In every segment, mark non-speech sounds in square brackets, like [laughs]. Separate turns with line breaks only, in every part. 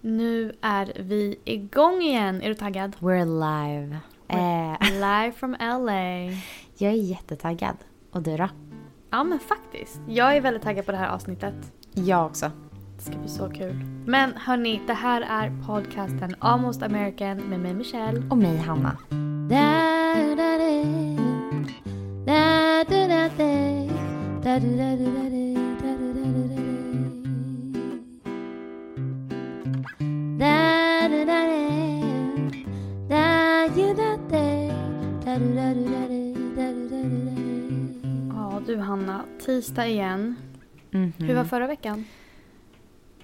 Nu är vi igång igen. Är du taggad?
We're alive. Eh,
Live from LA.
jag är jättetaggad. Och du då?
Ja men faktiskt. Jag är väldigt taggad på det här avsnittet.
Jag också.
Det ska bli så kul. Men hörni, det här är podcasten Almost American med mig Michelle.
Och mig, Hanna.
Ja du Hanna, tisdag igen.
Mhm.
Hur var förra veckan?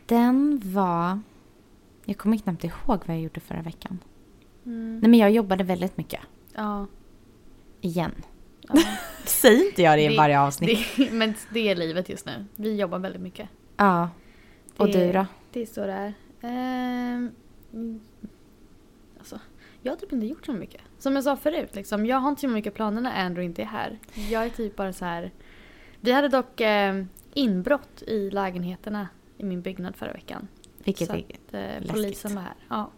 Den var... Jag kommer knappt ihåg vad jag gjorde förra veckan.
Mm.
Nej men jag jobbade väldigt mycket.
Ja.
Igen. [laughs]
ja.
Säg inte jag det
Det-
i varje avsnitt.
Det, men det är livet just nu. Vi jobbar väldigt mycket.
ja. Och
det-
du då?
Det är så det är. Ehm, mm. alltså, jag har typ inte gjort så mycket. Som jag sa förut, liksom, jag har inte så mycket planer när Andrew inte är här. Jag är typ bara så här. Vi hade dock eh, inbrott i lägenheterna i min byggnad förra veckan.
Vilket
så
är...
att, eh, polisen var här. Ja.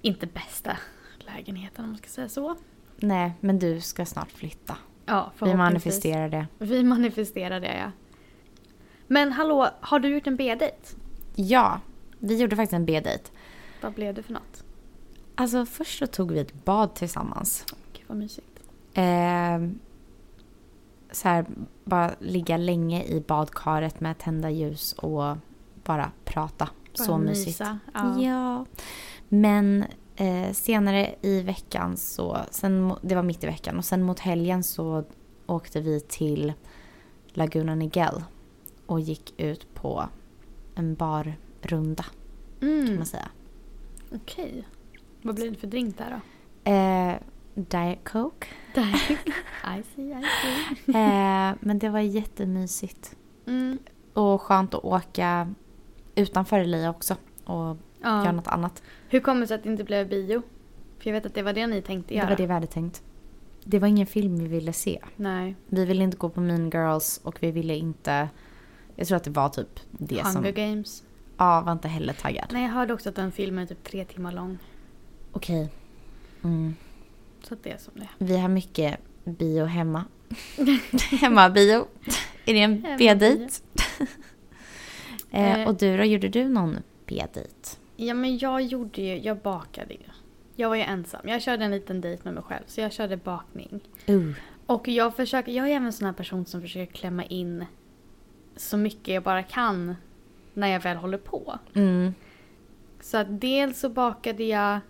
Inte bästa lägenheten om man ska säga så.
Nej, men du ska snart flytta.
Ja,
Vi
förhoppningsvis.
manifesterar det.
Vi manifesterar det ja. Men hallå, har du gjort en B-date?
Ja, vi gjorde faktiskt en B-date.
Vad blev det för något?
Alltså först så tog vi ett bad tillsammans.
Gud vad mysigt.
Ehm, så här, bara ligga länge i badkaret med tända ljus och bara prata. så
Bara
mysigt.
mysa.
Ja.
Ja.
Men eh, senare i veckan så, sen, mo- det var mitt i veckan och sen mot helgen så åkte vi till Laguna Niguel och gick ut på en barrunda kan
Mm.
man säga.
Okej. Vad blir det för drink där då?
Eh, Diet
[laughs]
Coke.
I see, I see.
Eh, men det var jättemysigt
Mm.
och skönt att åka utanför LA också och göra
Ja.
något annat.
Hur kommer det sig att det inte blev bio? För jag vet att det var det ni tänkte
Det
göra.
var det vi hade tänkt. Det var ingen film vi ville se.
Nej.
Vi ville inte gå på Mean Girls och vi ville inte... Jag tror att det var typ det
Hunger
som...
Games.
Ja, var inte heller taggad.
Nej, jag hörde också att den filmen är typ tre timmar lång.
Okej. Mm.
Så att det är som det är.
Vi har mycket bio hemma. [laughs] Hemmabio. Är det en B-date?
Eh.
[laughs] Eh, och du då, gjorde du någon B-date?
Ja, men jag gjorde ju, jag bakade ju. Jag var ju ensam. Jag körde en liten dejt med mig själv, så jag körde bakning.
Uh.
Och jag försöker, jag är även en sån här person som försöker klämma in så mycket jag bara kan när jag väl håller på.
Mm.
Så att dels så bakade jag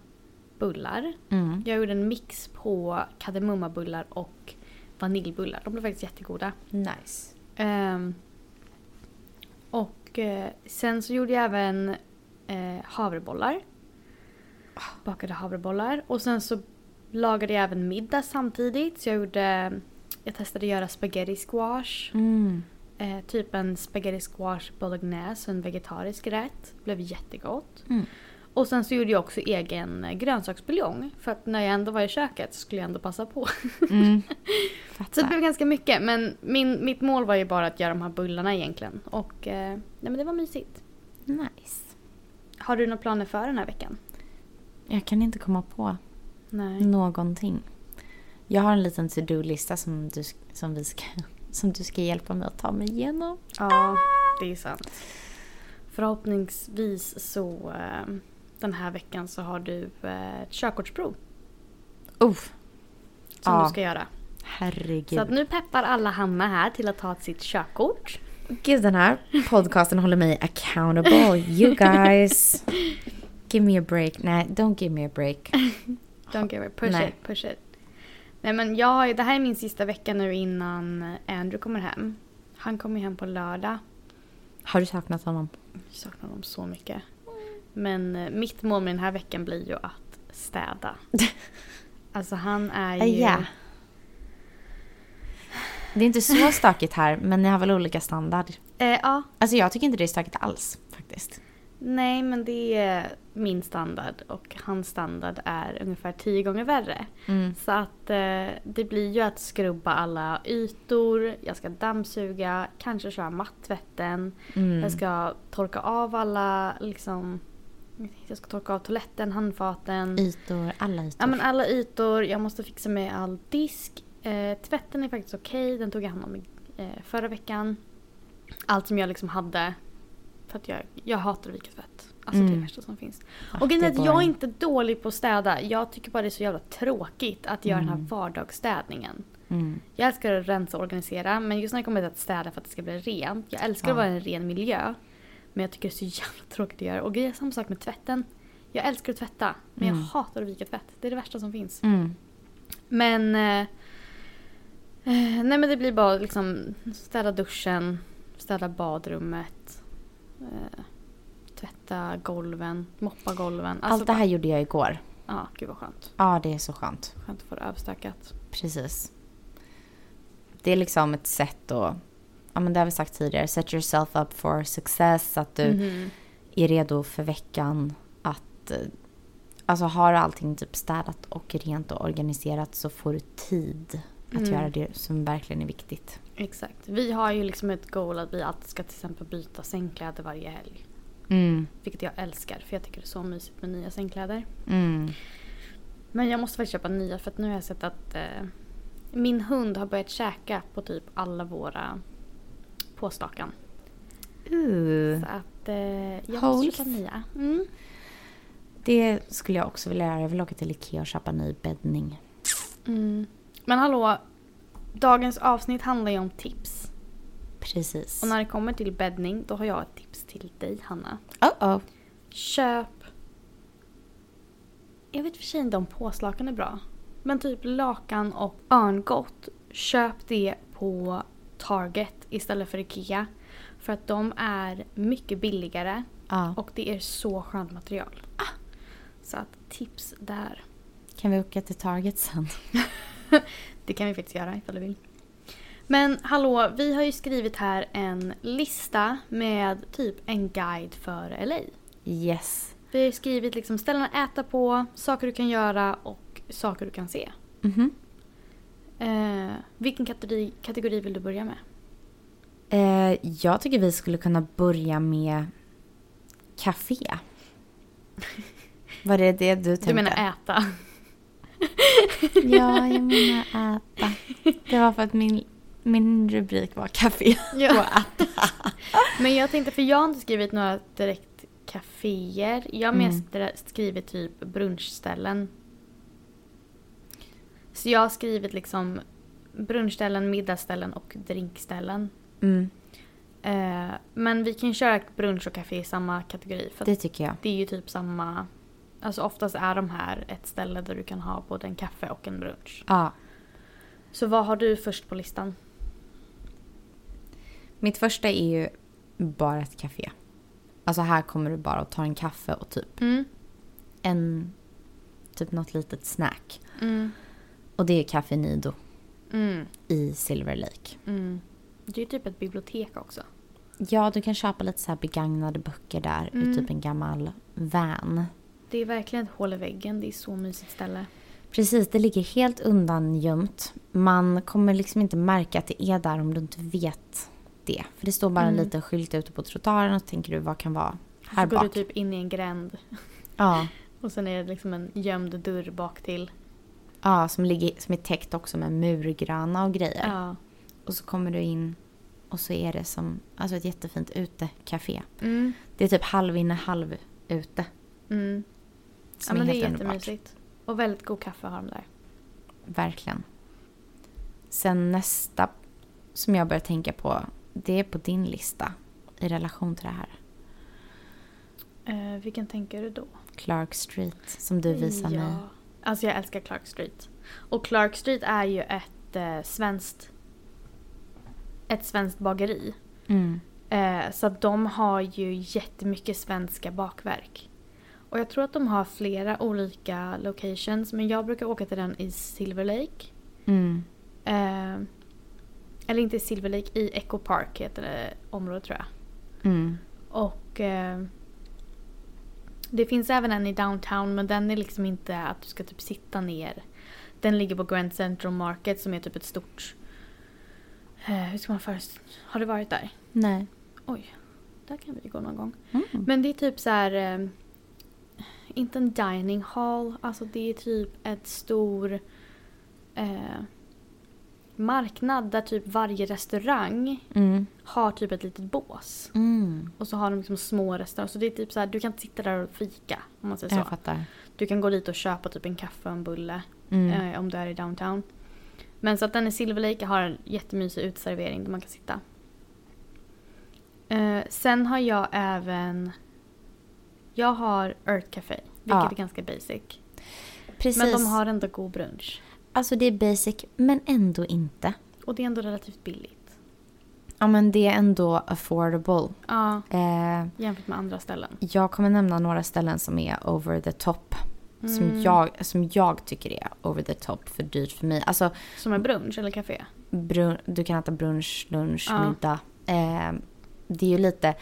bullar.
Mm.
Jag gjorde en mix på kardemummabullar och vaniljbullar. De blev faktiskt jättegoda.
Nice.
Ehm, och eh, sen så gjorde jag även eh, havrebollar. Bakade havrebollar. Och sen så lagade jag även middag samtidigt. Så jag gjorde, jag testade göra spaghetti squash.
Mm.
Eh, typ en spaghetti squash bolognese, en vegetarisk rätt. Blev jättegott.
Mm.
Och sen så gjorde jag också egen eh, grönsaksbuljong. För att när jag ändå var i köket så skulle jag ändå passa på. [laughs]
Mm.
Så det
[laughs] Fattar.
blev ganska mycket. Men min, mitt mål var ju bara att göra de här bullarna egentligen. Och eh, nej men det var mysigt.
Nice.
Har du några planer för den här veckan? Mm.
Jag kan inte komma på
Nej.
någonting. Jag har en liten to-do-lista som du, som, vi ska, [laughs] som du ska hjälpa mig att ta mig igenom.
Ja, det är sant. Förhoppningsvis så eh, den här veckan så har du eh, ett körkortsprov
Oh,
som
Ja.
du ska göra. Så att
herregud.
nu peppar alla Hanna här till att ta sitt körkort.
Gud, den här podcasten håller mig accountable. You guys. [laughs] Give me a break. Nej, don't give me a break.
Don't give it, push
Nej.
it, push it. Nej men jag, har ju- det här är min sista vecka nu innan eh, Andrew kommer hem. Han kommer ju hem på lördag.
Har du saknat honom?
Jag saknar dem så mycket. Men eh, mitt mål med den här veckan blir ju att
[laughs]
städa. Alltså han är ju...
Ah, Ja. Det är inte så stökigt här, men ni har väl olika standard?
Eh, ja.
Alltså jag tycker inte det är stökigt alls faktiskt.
Nej men det är min standard och hans standard är ungefär tio gånger värre.
Mm.
Så att eh, det blir ju att skrubba alla ytor, jag ska dammsuga, kanske köra mattvätten.
Mm.
Jag ska torka av alla liksom Jag tänkte jag ska torka av toaletten, handfaten.
Ytor, alla ytor.
Ja men alla ytor, jag måste fixa med all disk. Eh, tvätten är faktiskt okej, den tog jag hand om i, eh, förra veckan. Allt som jag liksom hade. För att jag, jag hatar att vika tvätt. Alltså det är
Mm.
det värsta som finns.
Ah,
och grejen
det
är
är
att jag är
boring.
inte dålig på att städa. Jag tycker bara det är så jävla tråkigt att göra den här
Mm.
vardagsstädningen.
Mm.
Jag älskar att rensa och organisera men just när det kommer till att städa för att det ska bli rent. Jag älskar att
Ja.
vara i en ren miljö. Men jag tycker det är så jävla tråkigt att göra. Och grejen är samma sak med tvätten. Jag älskar att tvätta men jag
Mm.
hatar att vika tvätt. Det är det värsta som finns.
Mm.
Men... Eh, eh, nej men det blir bara liksom städa duschen, städa badrummet. Eh, tvätta golven, moppa golven. Alltså
Allt det här gjorde jag igår.
bara- Ja, gud vad skönt.
Ja, det är så skönt.
Skönt att få det överstökat.
Precis. Det är liksom ett sätt att, ja men det har vi sagt tidigare, set yourself up for success. Att du
Mhm.
är redo för veckan. Att, eh, alltså har du allting typ städat och rent och organiserat så får du tid att
Mm.
göra det som verkligen är viktigt.
Exakt. Vi har ju liksom ett goal att vi alltid ska till exempel byta sängkläder varje helg.
Mm.
Vilket jag älskar för jag tycker det är så mysigt med nya sängkläder.
Mm.
Men jag måste faktiskt köpa nya för att nu har jag sett att eh, min hund har börjat käka på typ alla våra påstakan.
Uh.
Så att eh, jag måste
Holes.
köpa nya. Mm.
Det skulle jag också vilja göra. Jag vill åka till Ikea och köpa ny bäddning.
Mm. Men hallå, dagens avsnitt handlar ju om tips.
Precis.
Och när det kommer till bäddning då har jag ett tips till dig Hanna.
Oh, oh.
Köp... Jag vet för sig inte om påslakan är bra. Men typ lakan och örngott. Köp det på Target istället för IKEA. För att de är mycket billigare
Ja.
och det är så skönt material. Ah! Så att tips där.
Kan vi åka till Target sen?
Det kan vi faktiskt göra ifall du vill. Men hallå, vi har ju skrivit här en lista med typ en guide för LA.
Yes.
Vi har ju skrivit liksom ställen att äta på, saker du kan göra och saker du kan se.
Mhm.
Eh, vilken kategori, kategori vill du börja med?
Eh, jag tycker vi skulle kunna börja med café. Var det det du tänkte?
Du menar äta?
Ja, jag menar äta. Det var för att min, min rubrik var café.
[laughs] Ja. Men jag tänkte, för jag har inte skrivit några direkt kaféer. Jag har
Mm.
mest dra- skrivit typ brunchställen. Så jag har skrivit liksom brunchställen, middagsställen och drinkställen.
Mm,
Eh, men vi kan köra brunch och café i samma kategori. För att
det tycker jag.
Det är ju typ samma... Alltså oftast är de här ett ställe där du kan ha både en kaffe och en brunch.
Ja.
Så vad har du först på listan?
Mitt första är ju bara ett café. Alltså här kommer du bara och tar en kaffe och typ
Mm.
en... Typ något litet snack.
Mm.
Och det är Café Nido
Mm.
i Silver Lake.
Mm. Det är ju typ ett bibliotek också.
Ja, du kan köpa lite så här begagnade böcker där
Mm.
ur typ en gammal van.
Det är verkligen ett hål i väggen. Det är så mysigt ställe.
Precis, det ligger helt undangömt. Man kommer liksom inte märka att det är där om du inte vet det. För det står bara en
Mm.
liten skylt ute på trottoaren och så tänker du vad kan vara här
Här så går
bak?
du typ in i en gränd.
Ja,
Och sen är det liksom en gömd dörr bak till.
ja som, ligger, som är täckt också med murgröna och grejer.
Ja.
Och så kommer du in och så är det som alltså ett jättefint utekafé.
Mm.
Det är typ halv inne, halv ute.
Mm. Ja
Som
men det
är helt
är
underbart.
jättemysigt. Och väldigt god kaffe har de där.
Verkligen. Sen nästa som jag börjar tänka på, det är på din lista i relation till det här.
Eh, vilken tänker du då?
Clark Street som du visar
Mm, ja.
mig.
Alltså jag älskar Clark Street. Och Clark Street är ju ett eh, svenskt ett svenskt bageri.
Mm.
Eh, så att de har ju jättemycket svenska bakverk. Och jag tror att de har flera olika locations men jag brukar åka till den i Silver Lake.
Mm.
Eh, eller inte i Silver Lake, i Echo Park heter det området tror jag.
Mm.
Och eh, det finns även en i downtown men den är liksom inte att du ska typ sitta ner. Den ligger på Grand Central Market som är typ ett stort... Eh, hur ska man först... Har du varit där?
Nej.
Där kan vi gå någon gång.
Mm.
Men det är typ så här... Eh, inte en dining hall. Alltså det är typ ett stor eh, marknad där typ varje restaurang
Mm.
har typ ett litet bås.
Mm.
Och så har de liksom små restauranger. Så det är typ så här, du kan sitta där och fika. Om man säger så.
Jag fattar.
Du kan gå dit och köpa typ en kaffe och en bulle.
Mm.
Eh, om du är i downtown. Men så att den i Silver Lake har en jättemysig uteservering där man kan sitta. Eh, sen har jag även... Jag har Earth Café, vilket
Ja.
är ganska basic.
Precis.
Men de har ändå god brunch.
Alltså det är basic men ändå inte.
Och det är ändå relativt billigt.
Ja men det är ändå affordable.
Ja,
Eh,
jämfört med andra ställen.
jag kommer nämna några ställen som är over the top. Som,
Mm.
jag, som jag tycker är over the top för dyrt för mig. Alltså
Som är brunch eller café.
brun- du kan äta brunch, lunch,
Ja.
middag. Eh, det är ju lite...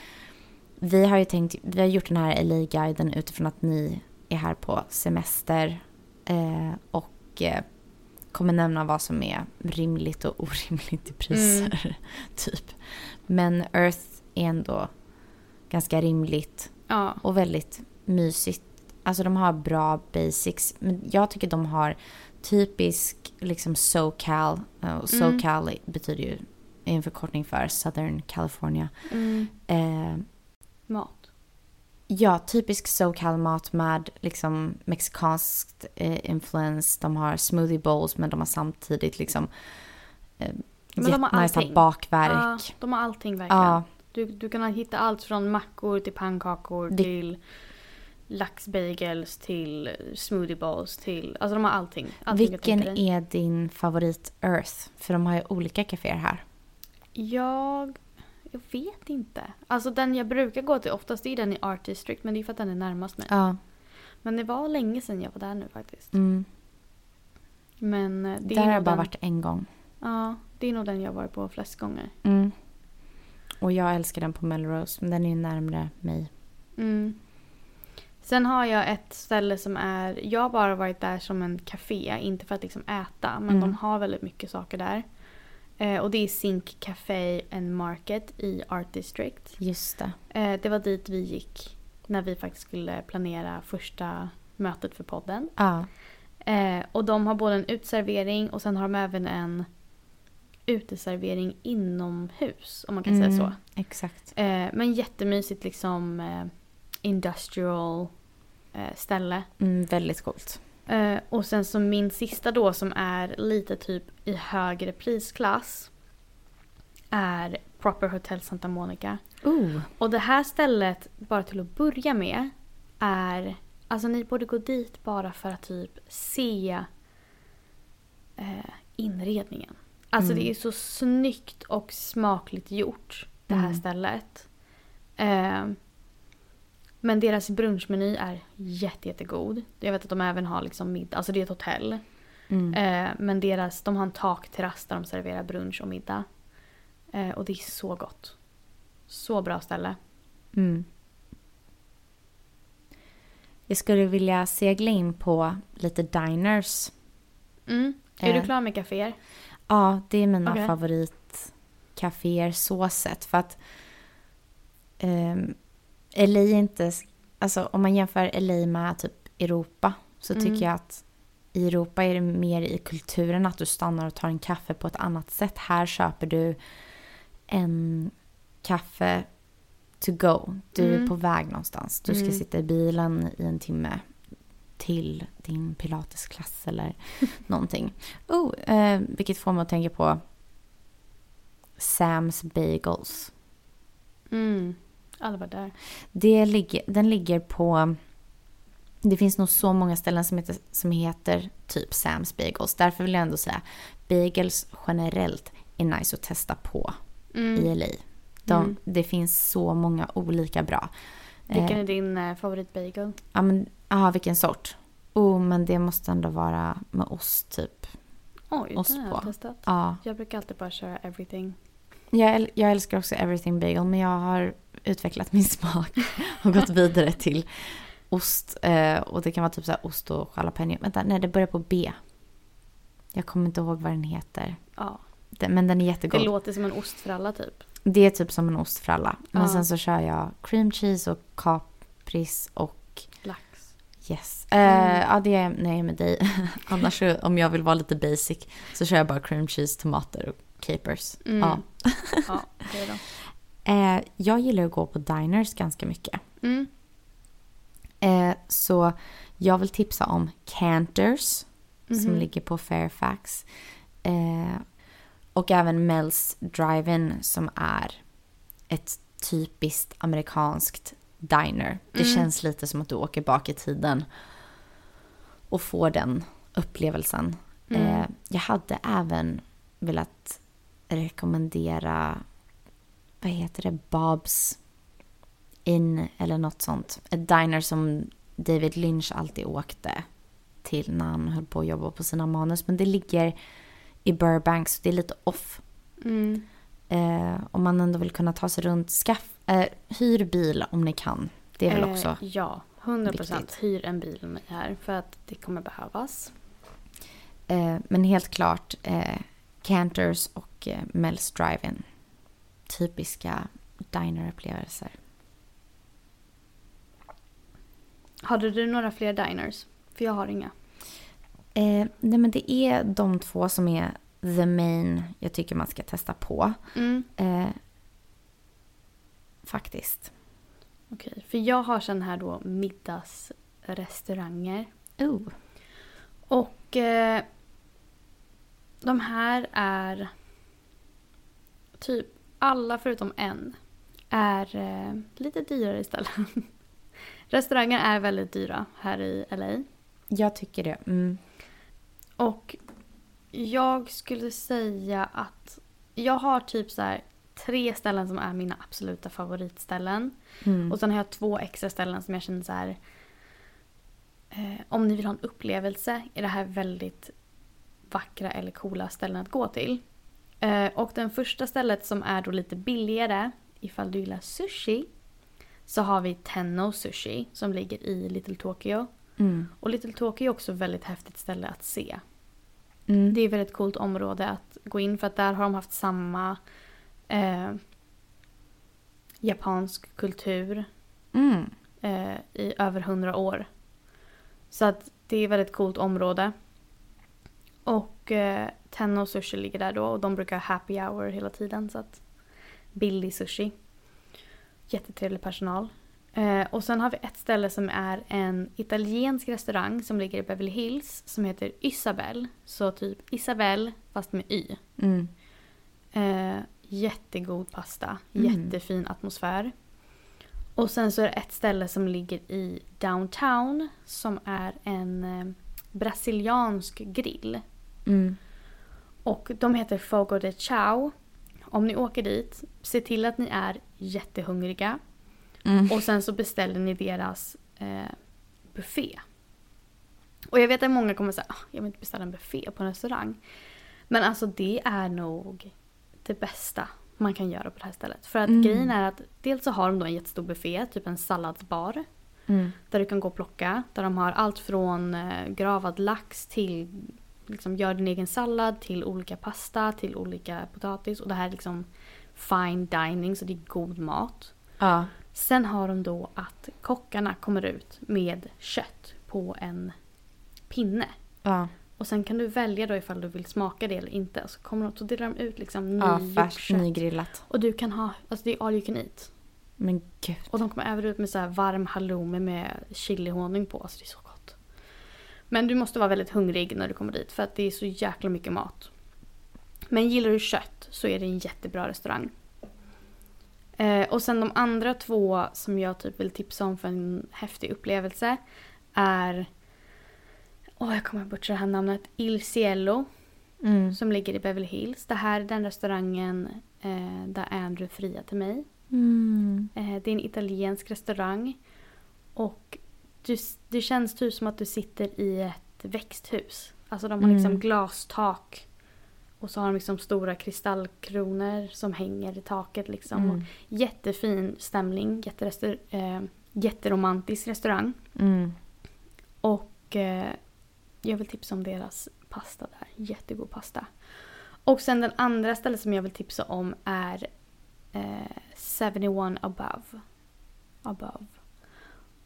Vi har ju tänkt, vi har gjort den här LA-guiden utifrån att ni är här på semester eh, och eh, kommer nämna vad som är rimligt och orimligt i priser. [laughs] typ. Men Earth är ändå ganska rimligt
Ja.
och väldigt mysigt. Alltså de har bra basics. Men jag tycker de har typisk liksom SoCal. eh, Och
Mm.
SoCal betyder ju är en förkortning för Southern California.
Mm.
Eh,
Mat.
ja, typisk SoCal-mat med liksom mexikanskt eh, influens. De har smoothie bowls men de har samtidigt liksom eh,
Men de har
jättenice
allting. Ja,
bakverk.
de har allting verkligen.
Ja,
Du, du kan hitta allt från mackor till pannkakor
Det-
till laxbagels till smoothie bowls till... Alltså de har allting. allting du kan
vilken
tänka dig.
är din favorit Earth? För de har ju olika kaféer här.
Jag... Jag vet inte. Alltså den jag brukar gå till oftast är den i Art District men det är för att den är närmast mig.
Ja.
Men det var länge sedan jag var där nu faktiskt.
Mm.
Men eh, det
Där
är
har
nog
jag bara
den,
varit en gång.
Ja, det är nog den jag har varit på flest gånger.
Mm. Och jag älskar den på Melrose, men den är ju närmare mig.
Mm. Sen har jag ett ställe som är, jag har bara varit där som en café, inte för att liksom äta, men
Mm.
de har väldigt mycket saker där. Eh, och det är Sink Café and Market i Art District.
Just det.
Eh, det var dit vi gick när vi faktiskt skulle planera första mötet för podden.
Ja.
Eh, och de har både en utservering och sen har de även en uteservering inomhus, om man kan
Mm.
säga så.
Exakt.
Eh, men jättemysigt liksom eh, industrial eh, ställe.
Mm, väldigt coolt.
Eh, och sen så min sista då som är lite typ i högre prisklass är Proper Hotel Santa Monica.
Oh.
Och det här stället, bara till att börja med, är... Alltså ni borde gå dit bara för att typ se eh, inredningen. Alltså
Mm.
det är så snyggt och smakligt gjort, det här
Mm.
stället. Eh, men deras brunchmeny är jätte, jättegod. Jag vet att de även har liksom middag, alltså det är ett hotell.
Mm.
Eh, men deras, de har en takterrass där de serverar brunch och middag. Eh, och det är så gott. Så bra ställe.
Mm. Jag skulle vilja segla in på lite diners.
Mm. Är
Eh.
du klar med kaféer?
Ja, det är mina
Okej.
favoritkaféer så sett. För att um, LA är inte... Alltså om man jämför LA med typ Europa så
Mm.
tycker jag att i Europa är det mer i kulturen att du stannar och tar en kaffe på ett annat sätt. Här köper du en kaffe to go. Du är
Mm.
på väg någonstans. Du ska
Mm.
sitta i bilen i en timme till din pilatesklass
[laughs]
eller någonting. Oh, eh, vilket får mig att tänka på Sam's Bagels.
Mm. Alla var där.
Det ligger, den ligger på... Det finns nog så många ställen som heter, som heter typ Sam's Bagels. Därför vill jag ändå säga bagels generellt är nice att testa på
Mm.
i LA. De,
Mm.
Det finns så många olika bra.
Vilken
Eh,
är din eh, favoritbagel?
ja, men, aha, vilken sort? Oh, men det måste ändå vara med ost typ.
Oj,
Ost
den har
på.
jag testat.
Ja.
Jag brukar alltid bara köra everything.
Jag, äl- jag älskar också everything bagel men jag har utvecklat min [laughs] smak och gått vidare till ost. Eh, och det kan vara typ så här ost och jalapeno. Vänta, nej det börjar på B. Jag kommer inte ihåg vad den heter.
Ja.
Den, men den är
Det
jättegod. Det,
låter som en ost för alla typ.
är typ som en ost för alla. Men
Ja.
sen så kör jag cream cheese och kapris och
Lax.
Yes. Eh,
Mm.
ja, det [laughs] är när jag är med dig. Annars så, om jag vill vara lite basic så kör jag bara cream cheese, tomater och capers.
Mm. [laughs]
Ja.
ja, det är de.
Eh, jag gillar att gå på diners ganska mycket.
Mm.
Eh, så jag vill tipsa om Canters som
Mhm.
ligger på Fairfax. Eh, och även Mel's Drive-In som är ett typiskt amerikanskt diner. Det
Mm.
känns lite som att du åker bak i tiden och får den upplevelsen.
Mm.
Eh, jag hade även velat rekommendera, vad heter det, Bob's In eller något sånt. Ett diner som David Lynch alltid åkte till när han höll på att jobba på sina manus. Men det ligger i Burbank så det är lite off.
Mm.
Eh, om man ändå vill kunna ta sig runt, skaff, eh, hyr bil om ni kan. Det är väl
Eh,
också.
Ja, 100 procent.
viktigt.
Hyr en bil om ni är här för att det kommer behövas.
Eh, men helt klart eh, Canters och eh, Mel's Drive-In. Typiska dinerupplevelser.
Hade du några fler diners? För jag har inga.
Eh, nej men det är de två som är the main jag tycker man ska testa på.
Mm.
Eh, faktiskt.
Okej, för jag har sen här då middagsrestauranger.
Oh.
Och eh, de här är typ alla förutom en är eh, lite dyrare istället. [laughs] Restauranger är väldigt dyra här i LA.
Jag tycker det. Mm.
Och jag skulle säga att jag har typ så här tre ställen som är mina absoluta favoritställen.
Mm.
Och sen har jag två extra ställen som jag känner så här. Eh, om ni vill ha en upplevelse är det här väldigt vackra eller coola ställen att gå till. Eh, och den första stället som är då lite billigare ifall du gillar sushi så har vi Tenno Sushi som ligger i Little Tokyo.
Mm.
Och Little Tokyo är också ett väldigt häftigt ställe att se.
Mm.
Det är ett väldigt coolt område att gå in för att där har de haft samma eh, japansk kultur
Mm.
eh, i över hundra år. Så att det är ett väldigt coolt område. Och eh, Tenno Sushi ligger där då och de brukar ha happy hour hela tiden. Så att billig sushi. Jättetrevlig personal. Eh, och sen har vi ett ställe som är en italiensk restaurang som ligger i Beverly Hills som heter Isabel. Så typ Isabel fast med Y.
Mm.
Eh, jättegod pasta,
Mm.
jättefin atmosfär. Och sen så är det ett ställe som ligger i downtown som är en eh, brasiliansk grill.
Mm.
Och de heter Fogo de Chao. Om ni åker dit, se till att ni är jättehungriga.
Mm.
Och sen så beställer ni deras eh, buffé. Och jag vet att många kommer säga "Ah, jag vill inte beställa en buffé på en restaurang. Men alltså det är nog det bästa man kan göra på det här stället. För att
Mm.
grejen är att dels så har de då en jättestor buffé, typ en salladsbar.
Mm.
Där du kan gå och plocka. Där de har allt från eh, gravad lax till liksom, gör din egen sallad till olika pasta till olika potatis. Och det här är liksom fine dining så det är god mat.
Ja.
Sen har de då att kockarna kommer ut med kött på en pinne.
Ja.
Och sen kan du välja då ifall du vill smaka det eller inte. Så kommer de, så delar de ut liksom
ja
nygjort
färskt,
kött.
nygrillat.
Och du kan ha, alltså det är all you can eat.
Men gud.
Och de kommer även ut med så här varm halloumi med chilihonung på. Alltså det är så gott. Men du måste vara väldigt hungrig när du kommer dit för att det är så jäkla mycket mat. Men gillar du kött så är det en jättebra restaurang. Eh, och sen de andra två som jag typ vill tipsa om för en häftig upplevelse är... Åh, jag kommer att butcha det här namnet. Il Cielo
Mm.
som ligger i Beverly Hills. Det här är den restaurangen eh, där Andrew friade till mig.
Mm.
Eh, Det är en italiensk restaurang. Och du, det känns typ som att du sitter i ett växthus. Alltså de har liksom
Mm.
glastak. Och så har de liksom stora kristallkronor som hänger i taket liksom. Och
Mm.
jättefin stämning. Jätterester, eh, jätteromantisk restaurang.
Mm.
Och eh, jag vill tipsa om deras pasta där. Jättegod pasta. Och sen den andra stället som jag vill tipsa om är eh, 71 above. above.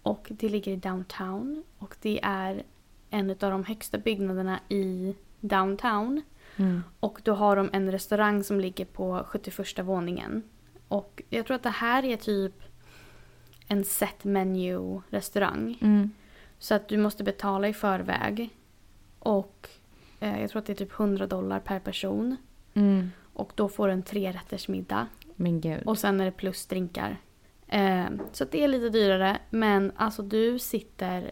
Och det ligger i downtown. Och det är en av de högsta byggnaderna i downtown.
Mm.
Och då har de en restaurang som ligger på 71 våningen. Och jag tror att det här är typ en set menu restaurang.
Mm.
Så att du måste betala i förväg. Och eh, jag tror att det är typ 100 dollar per person.
Mm.
Och då får du en trerättersmiddag.
Men gud.
Och sen är det plus drinkar. Eh, så att det är lite dyrare. Men alltså du sitter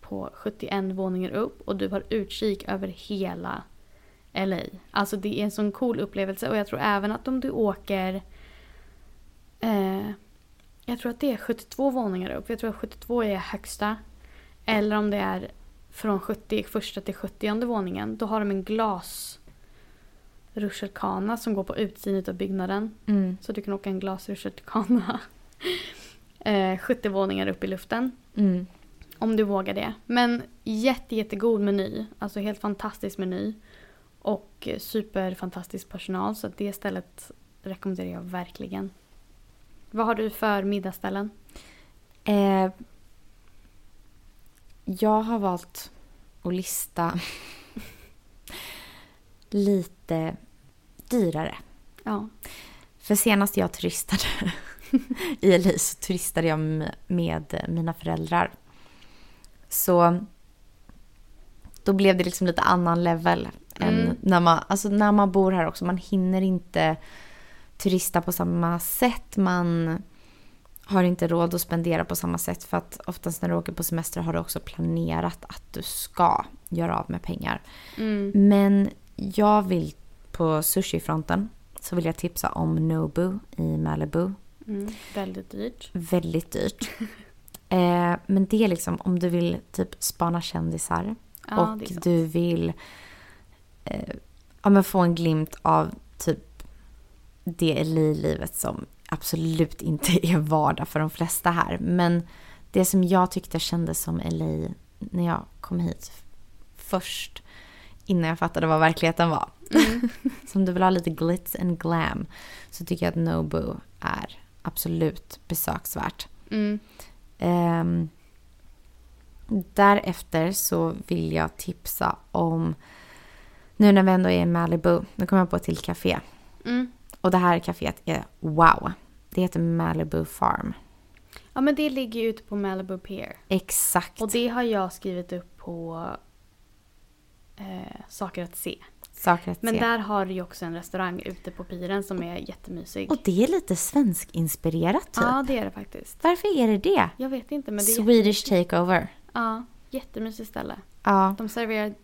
på 71 våningar upp och du har utkik över hela LA. Alltså det är en sån cool upplevelse och jag tror även att om du åker eh, jag tror att det är 72 våningar upp. Jag tror att 72 är högsta. Eller om det är från 70, första till 70 våningen. Då har de en glas rutschkana som går på utsidan av byggnaden.
Mm.
Så du kan åka en glasrutschkana. [laughs] eh, 70 våningar upp i luften.
Mm.
Om du vågar det. Men jätte, jättegod meny. Alltså helt fantastisk meny. Och superfantastisk personal. Så att det stället rekommenderar jag verkligen. Vad har du för middagsställen?
Eh, jag har valt att [laughs] lista lite dyrare.
Ja.
För senast jag turistade [laughs] i LA så turistade jag m- med mina föräldrar. Så då blev det liksom lite annan level.
Mm.
Än när, man, alltså när man bor här också. Man hinner inte turista på samma sätt. Man har inte råd att spendera på samma sätt. För att oftast när du åker på semester har du också planerat att du ska göra av med pengar.
Mm.
Men jag vill på sushifronten så vill jag tipsa om Nobu i Malibu.
Mm. Väldigt dyrt.
Väldigt dyrt. eh, men det är liksom om du vill typ spana kändisar
Ja,
och
det är sant.
du vill eh, ja, men få en glimt av typ det LA-livet som absolut inte [laughs] är vardag för de flesta här. Men det som jag tyckte kändes som LA när jag kom hit f- först innan jag fattade vad verkligheten var. [laughs]
Mm. [laughs]
Så om du vill ha lite glitz and glam så tycker jag att Nobu är absolut besöksvärt.
Mm.
Ehm, därefter så vill jag tipsa om, nu när vi ändå är i Malibu, nu kommer jag på ett till café.
Mm.
Och det här caféet är wow. Det heter Malibu Farm.
Ja men det ligger ju ute på Malibu Pier.
Exakt.
Och det har jag skrivit upp på eh, saker att se.
Saker att
Men
se.
där har du ju också en restaurang ute på piren som är jättemysig.
Och det är lite svenskinspirerat typ.
Ja, det är det faktiskt.
Varför är det det?
Jag vet inte men det är
Swedish takeover.
ja, jättemysigt ställe.
Ja.
De serverar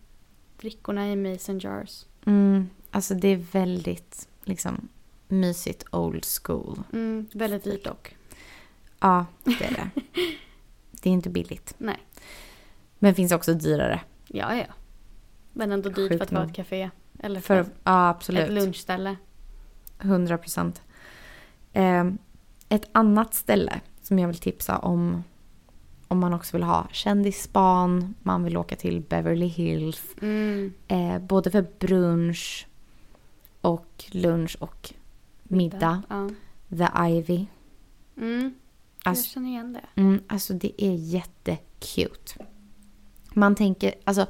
drickorna i mason jars.
Mm, alltså det är väldigt liksom mysigt old school.
Mm, väldigt dyrt dock. [laughs]
Ja, det är det. det är inte billigt.
Nej.
Men finns också dyrare.
Ja, ja. Men ändå dyrt
Sjukt
för att vara
nog.
ett café. Eller för,
För, ja,
ett
absolut.
lunchställe.
100 procent. Ehm, Ett annat ställe som jag vill tipsa om om man också vill ha kändisspan, man vill åka till Beverly Hills.
Mm.
Eh, både för brunch och lunch och middag.
Ja.
The Ivy.
Mm.
Alltså,
Jag känner igen det.
Mm, alltså det är jättecute. Man tänker, alltså.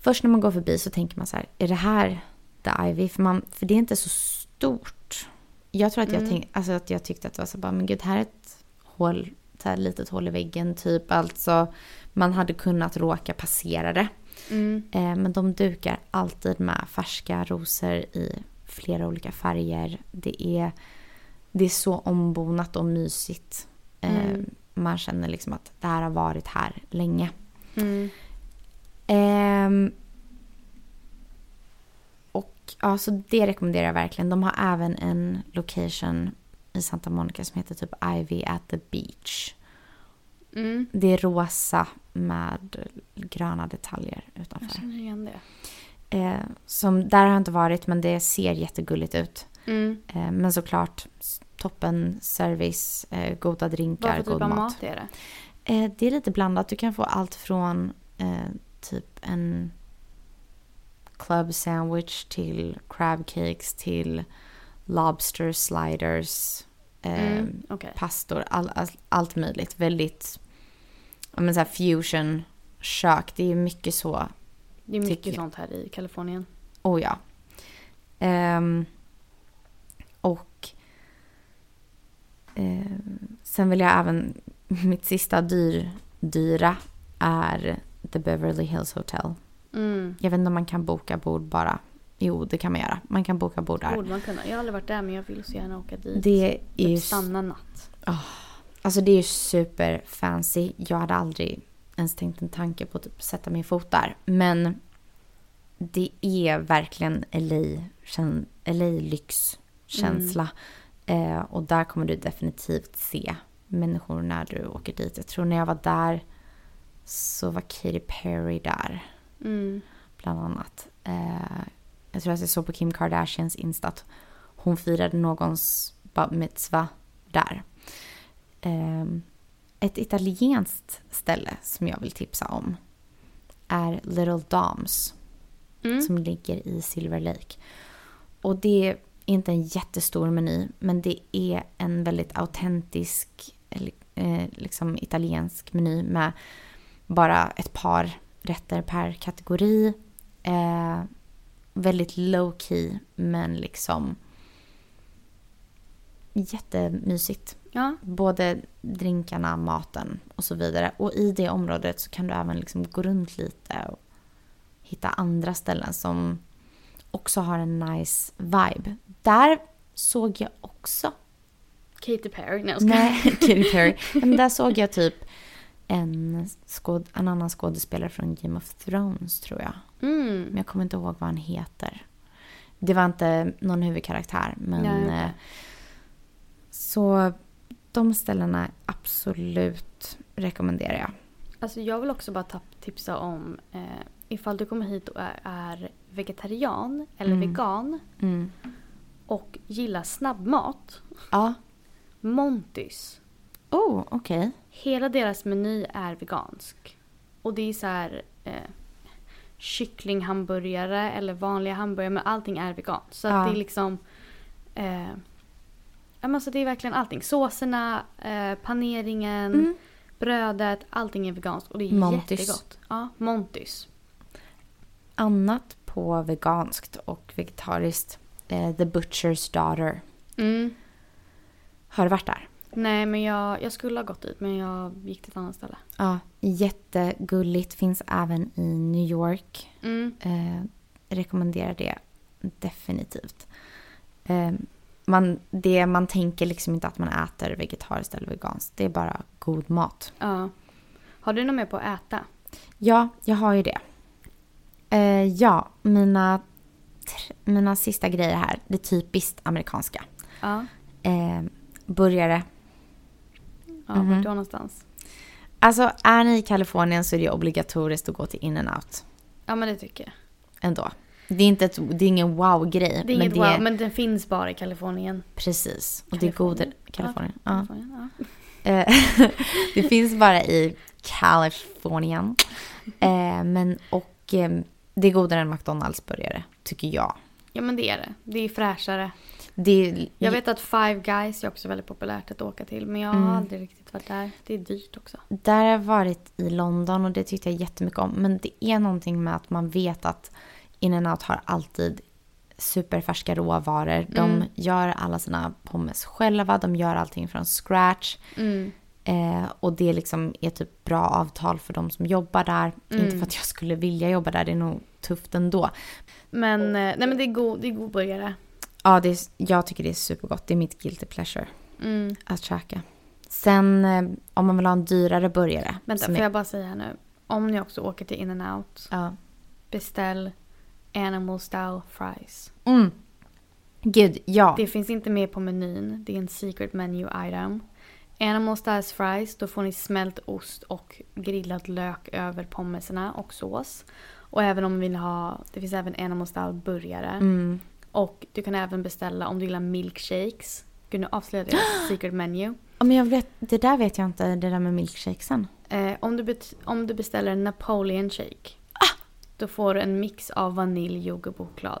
Först när man går förbi så tänker man så här, är det här The Ivy? För, man, för det är inte så stort. Jag tror att jag,
Mm.
tänk, alltså att jag tyckte att det var så bara, men gud, här är ett hål, ett här litet hål i väggen typ. Alltså, man hade kunnat råka passera det.
Mm.
Eh, men de dukar alltid med färska rosor i flera olika färger. Det är, det är så ombonat och mysigt. Eh,
Mm.
Man känner liksom att det här har varit här länge.
Mm.
Ehm, och ja, så det rekommenderar jag verkligen. De har även en location i Santa Monica som heter typ Ivy at the beach.
Mm.
Det är rosa med gröna detaljer
Jag
utanför.
känner igen det.
Eh, som, där har jag inte varit men det ser jättegulligt ut.
Mm.
Eh, men såklart s- toppen service, eh, goda
Vad för
drinkar, god
typ av
mat.
mat är det?
Eh, det är lite blandat. Du kan få allt från eh, typ en club sandwich till crab cakes till lobster sliders. eh,
Mm. Okej.
pastor, all, all, allt möjligt. Väldigt ja, men så här fusion kök. Det är mycket så.
Det är mycket
Tycker jag.
sånt här i Kalifornien.
Oh ja. Ehm, och ehm, sen vill jag även, [laughs] mitt sista dyr, dyra är The Beverly Hills Hotel.
Mm.
Jag vet inte om man kan boka bord bara. Jo, det kan man göra. Man kan boka bord där.
Borde man kunna. Jag har aldrig varit där men jag vill så gärna åka dit.
Det är
typ
ju
stanna natt.
Alltså det är ju super fancy. Jag hade aldrig ens tänkt en tanke på att typ sätta min fot där. Men det är verkligen LA, kän- LA lyxkänsla. Eh, och där kommer du definitivt se människor när du åker dit. Jag tror när jag var där så var Katy Perry där
Mm.
bland annat. Eh, jag tror att jag såg på Kim Kardashians Insta att hon firade någons bat mitzva där. Ehm, ett italienskt ställe som jag vill tipsa om är Little Doms
Mm.
som ligger i Silver Lake. Och det är inte en jättestor meny men det är en väldigt autentisk eller, eh, liksom italiensk meny med bara ett par rätter per kategori. Eh, väldigt low key men liksom jättemysigt.
Ja.
Både drinkarna, maten och så vidare. Och i det området så kan du även liksom gå runt lite och hitta andra ställen som också har en nice vibe. Där såg jag också
Katy Perry. Nej, jag skojar.
Nej, Katy Perry. Men där såg jag typ en, skåd, en annan skådespelare från Game of Thrones tror jag. Men
Mm.
jag kommer inte ihåg vad han heter. Det var inte någon huvudkaraktär men...
Nej, okej.
eh, Så de ställena absolut rekommenderar jag.
Alltså jag vill också bara tapp- tipsa om eh, ifall du kommer hit och är, är vegetarian eller
Mm.
vegan
Mm.
och gillar snabbmat.
Ja.
Montys.
Oh, okej.
Hela deras meny är vegansk. Och det är så här eh, kycklinghamburgare eller vanliga hamburgare men allting är veganskt. Så
Ja.
att det är liksom eh, ja, men så det är verkligen allting. Såserna, eh, paneringen,
Mm.
brödet, allting är veganskt och det är
Montys.
jättegott. Ja, Montys.
Annat på veganskt och vegetariskt. Eh, The Butcher's Daughter.
Mm.
Har du varit där?
Nej men jag, jag skulle ha gått dit men jag gick till ett annat ställe.
Ja, jättegulligt. Finns även i New York.
Mm.
Eh, rekommenderar det definitivt. Eh, man, det, man tänker liksom inte att man äter vegetariskt eller veganskt. Det är bara god mat.
Ja. Har du något mer på att äta?
Ja, jag har ju det. Eh, ja, mina, tr- mina sista grejer här. Det typiskt amerikanska.
Ja.
Eh, burgare.
ja
Mhm.
Vart då någonstans?
Alltså, är ni i Kalifornien så är det obligatoriskt att gå till In-N-Out
Ja men det tycker jag.
ändå. Det är, inte ett, det är ingen wow-grej.
Det är inget wow, typ. men den finns bara i Kalifornien.
Precis. Och det är
Kalifornien?
goda... Kalifornien. Ja.
Kalifornien ja.
Eh, [laughs] det finns bara i Kalifornien. Eh, men och eh, det är godare än McDonalds-burgare, tycker jag.
ja men det är det. Det är fräschare.
Det är,
Jag vet att Five Guys är också väldigt populärt att åka till men jag har
Mm.
aldrig riktigt varit där. Det är dyrt också.
Där har jag varit i London och det tyckte jag jättemycket om. Men det är någonting med att man vet att In-N-Out har alltid superfärska råvaror. De
Mm.
gör alla sina pommes själva, de gör allting från scratch.
Mm.
Eh, och det liksom är typ bra avtal för de som jobbar där.
Mm.
Inte för att jag skulle vilja jobba där, det är nog tufft ändå.
Men, eh, nej, men det, är god, det är god burgare.
Ja, det är, jag tycker det är supergott. Det är mitt guilty pleasure
Mm.
att käka. Sen eh, om man vill ha en dyrare burgare.
Vänta,
som
får
är-
jag bara säga här nu. Om ni också åker till In-N-Out,
Ja.
beställ Animal Style Fries.
Mm. Gud, ja.
Det finns inte med på menyn. Det är en secret menu item. Animal Style Fries, då får ni smält ost och grillad lök över pommeserna och sås. Och även om ni vill ha, det finns även Animal Style burgare.
Mm.
Och du kan även beställa om du gillar milkshakes. Gud nu avslöjade
[gasps]
jag secret menu.
Ja, Men jag vet, det där vet jag inte, det där med milkshakesen.
Eh, om, du bet- om du beställer en Napoleon shake.
Ah!
Då får du en mix av vanilj, yoghurt och choklad.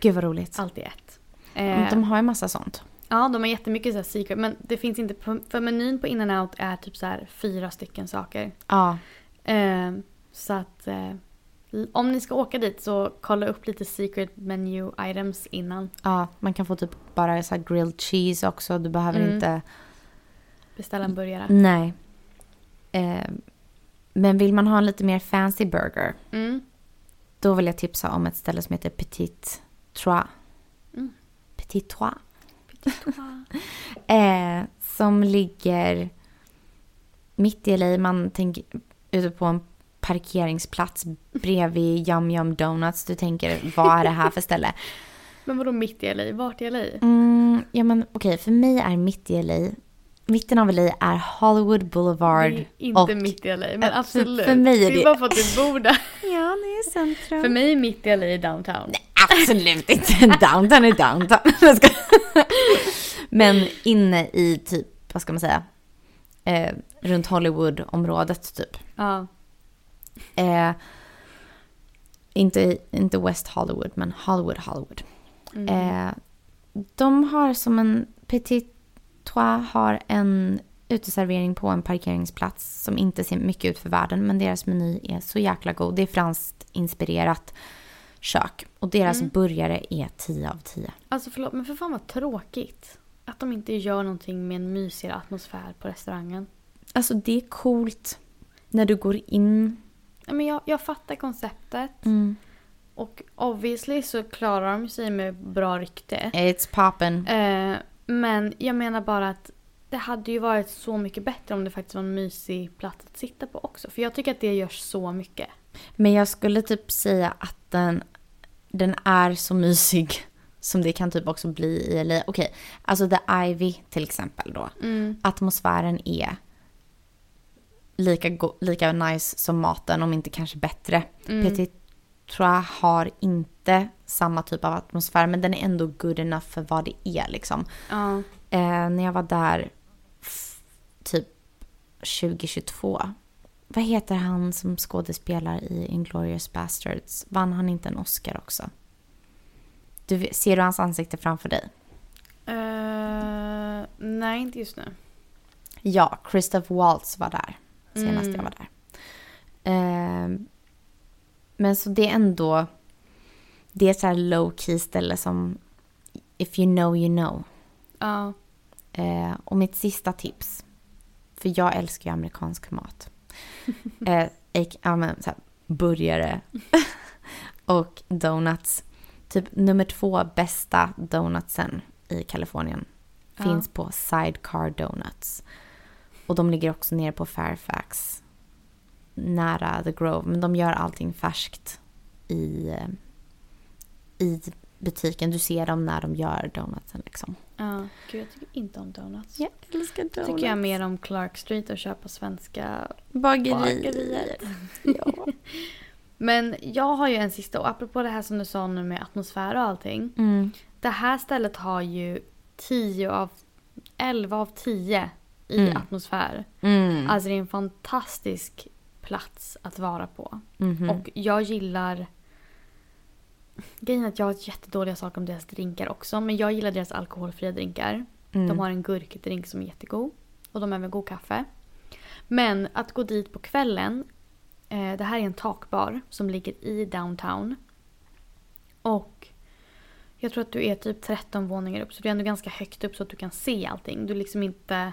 Gud vad roligt.
Allt i ett. Eh,
De har ju massa sånt.
Ja, de har jättemycket så här secret. Men det finns inte, på, för menyn på in and out är typ så här fyra stycken saker.
Ja,
Eh, så att eh, om ni ska åka dit så kolla upp lite secret menu items innan.
ja, man kan få typ bara så här grilled cheese också. Du behöver
Mm.
inte...
Beställa
Mm.
en burgare.
Nej. Eh, men vill man ha en lite mer fancy burger,
Mm.
då vill jag tipsa om ett ställe som heter Petit Trois.
Mm.
Petit Trois. [laughs] Eh, som ligger mitt i LA. Man tänker ute på en parkeringsplats bredvid Yum Yum Donuts. Du tänker, vad är det här för [laughs] ställe?
Men vadå mitt i LA? Vart i LA?
Mm, ja men okej, för mig är mitt i LA, mitten av LA är Hollywood Boulevard.
Det är inte
och-
mitt i LA, men
för-
absolut.
för mig är
det
det-
är bara för att du bor där.
[laughs] Ja, det är centrum.
för mig är mitt i LA i downtown.
Absolut inte. [laughs] Downtown är downtown. [laughs] Jag ska- Men inne i typ, vad ska man säga, eh, runt Hollywood-området typ.
Ja.
Eh, inte, i- inte West Hollywood, men Hollywood, Hollywood.
Mm.
Eh, de har som en petit trois har en uteservering på en parkeringsplats som inte ser mycket ut för världen men deras meny är så jäkla god. Det är franskt inspirerat kök och deras
Mm.
burgare är 10 av 10.
Alltså förlåt, men för fan vad tråkigt. Att de inte gör någonting med en mysigare atmosfär på restaurangen.
Alltså det är coolt när du går in.
Ja, Men jag, jag fattar konceptet.
Mm.
Och obviously så klarar de sig med bra rykte.
It's poppin.
Eh, men jag menar bara att det hade ju varit så mycket bättre om det faktiskt var en mysig plats att sitta på också. För jag tycker att det görs så mycket.
Men jag skulle typ säga att den, den är så mysig [laughs] som det kan typ också bli i LA. Okej, alltså The Ivy till exempel då. Atmosfären är lika, go- lika nice som maten, om inte kanske bättre.
Mm.
Petit Trois har inte samma typ av atmosfär men den är ändå good enough för vad det är liksom.
Ja.
Eh, när jag var där f- typ 2022. Vad heter han som skådespelar i Inglourious Basterds? Vann han inte en Oscar också? Du, vet- ser du hans ansikte framför dig?
Eh, nej, inte just nu.
Ja, Christoph Waltz var där senast
Mm.
jag var där. Ehm, men så det är ändå... Det är så här low key ställe som if you know you know.
Ja.
Eh, och mitt sista tips, för jag älskar ju amerikansk mat. Eh, ik- ja, men, så här, burgare och donuts. Typ nummer två bästa donutsen i Kalifornien
Ja.
finns på Sidecar Donuts. Och de ligger också nere på Fairfax, nära The Grove. Men de gör allting färskt i, eh, i butiken. Du ser dem när de gör donutsen liksom.
ja. Gud, jag tycker inte om donuts.
Jag älskar donuts.
Tycker jag mer om Clark Street och köpa svenska
[laughs] Bageriet. ja.
Men jag har ju en sista och apropå det här som du sa nu med atmosfär och allting.
Mm.
Det här stället har ju 10 av 11 av 10 i
Mm.
atmosfär.
Mm.
Alltså det är en fantastisk plats att vara på.
Mhm.
Och jag gillar Grejen är att jag har jättedåliga saker om deras drinkar också. Men jag gillar deras alkoholfria drinkar.
Mm.
De har en gurkdrink som är jättegod. Och de har även god kaffe. Men att gå dit på kvällen. Eh, det här är en takbar som ligger i downtown. Och jag tror att du är typ 13 våningar upp. Så du är ändå ganska högt upp så att du kan se allting. Du liksom inte...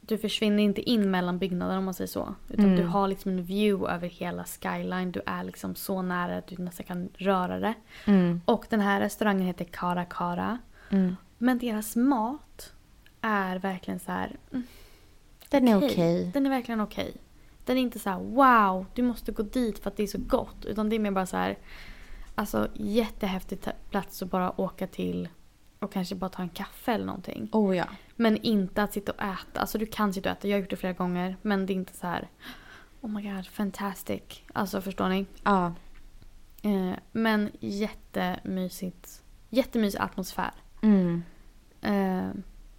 Du försvinner inte in mellan byggnaderna om man säger så. Utan
Mm.
du har liksom en view över hela skyline. Du är liksom så nära att du nästan kan röra det.
Mm.
Och den här restaurangen heter Kara Kara.
Mm.
Men deras mat är verkligen så här. mm,
Den är
okej.
okej.
Den är verkligen okej. Den är inte så här wow, du måste gå dit för att det är så gott. Utan det är mer bara så här. Alltså jättehäftig ta- plats att bara åka till och kanske bara ta en kaffe eller någonting.
Oh ja.
Men inte att sitta och äta. Alltså du kan sitta och äta, jag har gjort det flera gånger. Men det är inte så här. Oh my god, fantastic. Alltså förstår ni?
Ja.
Eh, men jättemysigt. Jättemysig atmosfär.
Mm.
Eh,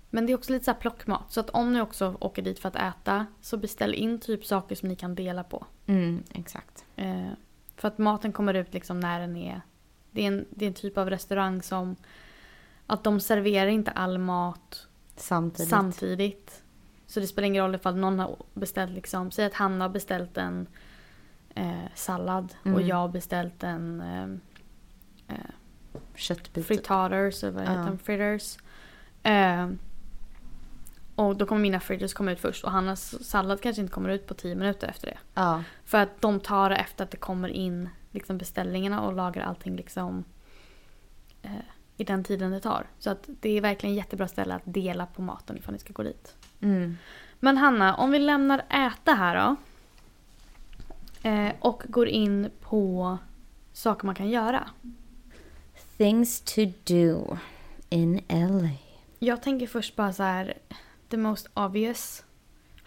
Men det är också lite så här plockmat. Så att om ni också åker dit för att äta så beställ in typ saker som ni kan dela på.
Mm. Exakt.
Eh, För att maten kommer ut liksom när den är... Det är en, det är en typ av restaurang som Att de serverar inte all mat
Samtidigt.
samtidigt. Så det spelar ingen roll ifall någon har beställt liksom, säg att han har beställt en eh, sallad och
Mm.
jag har beställt en eh, eh,
Köttbit.
frittaders eller vad
Ja.
heter de? Fritters. Eh, och då kommer mina fritters komma ut först och hans sallad kanske inte kommer ut på 10 minuter efter det.
Ja.
För att de tar det efter att det kommer in liksom beställningarna och lagar allting liksom eh, i den tiden det tar. Så att det är verkligen jättebra ställe att dela på maten ifall ni ska gå dit.
Mm.
Men Hanna, om vi lämnar äta här då. Eh, och går in på saker man kan göra.
Things to do in LA.
Jag tänker först bara så här, the most obvious,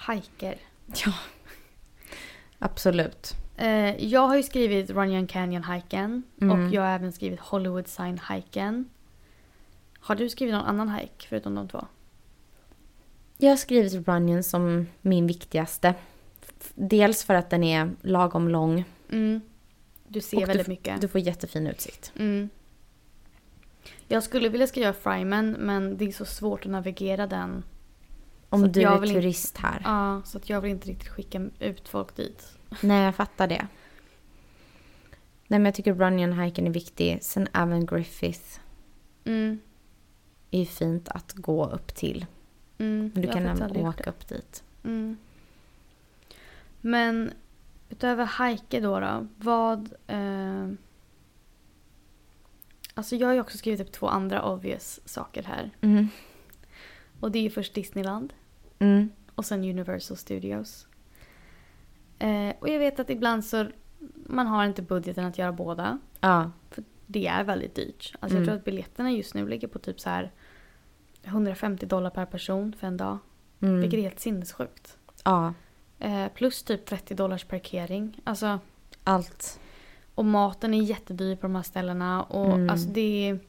hiker.
Absolut.
Eh, jag har ju skrivit Runyon Canyon-hiken
Mm.
och jag har även skrivit Hollywood Sign-hiken. Har du skrivit någon annan hike förutom de två?
Jag har skrivit Runyon som min viktigaste. F- Dels för att den är lagom lång.
Mm. Du ser
Och
väldigt mycket.
Du får jättefin utsikt.
Mm. Jag skulle vilja skriva Fryman men det är så svårt att navigera den.
Om
Så att
du
jag
är
vill inte-
turist här.
Ja, så att jag vill inte riktigt skicka ut folk dit.
Nej, jag fattar det. Nej, men jag tycker Runyon-hiken är viktig. Sen även Griffith
Mm.
är ju fint att gå upp till.
Mm.
Men du
Jag
kan
har faktiskt aldrig
även
gjort
åka upp dit.
det. Mm. Men utöver hike då, då vad... Eh, alltså jag har ju också skrivit upp två andra obvious saker här.
Mm.
Och det är ju först Disneyland
Mm.
och sen Universal Studios. Eh, och jag vet att ibland så man har inte budgeten att göra båda.
Ja.
Det är väldigt dyrt. Alltså
Mm.
jag tror att biljetterna just nu ligger på typ så här 150 dollar per person för en dag.
Mm.
Vilket är helt sinnessjukt.
Ja,
Eh, plus typ 30 dollars parkering. Alltså,
allt.
och maten är jättedyr på de här ställena. Och,
Mm.
alltså, det är...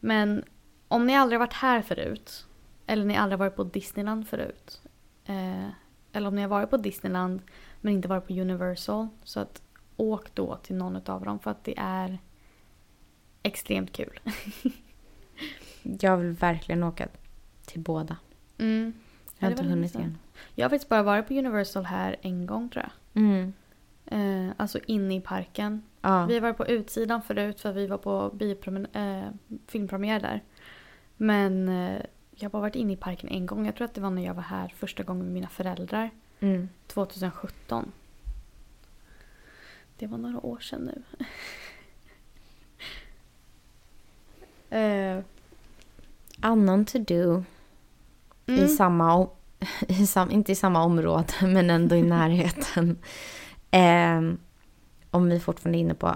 Men om ni aldrig har varit här förut. Eller ni aldrig har varit på Disneyland förut. Eh, eller om ni har varit på Disneyland men inte varit på Universal. Så att åk då till någon av dem för att det är extremt kul.
Jag vill verkligen åka till båda.
Mm.
Jag har
Ja, det
inte
var
hunnit
länge
igen.
Jag har faktiskt bara varit på Universal här en gång tror jag.
Mm.
Eh, alltså inne i parken.
Ja.
Vi var på utsidan förut för vi var på biopromen- eh, filmpremiär där. Men eh, jag har bara varit inne i parken en gång. Jag tror att det var när jag var här första gången med mina föräldrar.
Mm.
2017. Det var några år sedan nu. [laughs] eh,
Annan to do i
mm,
samma, o- [laughs] i sam, inte i samma område [laughs] men
[laughs]
ändå i närheten. Ehm, om vi fortfarande är inne på,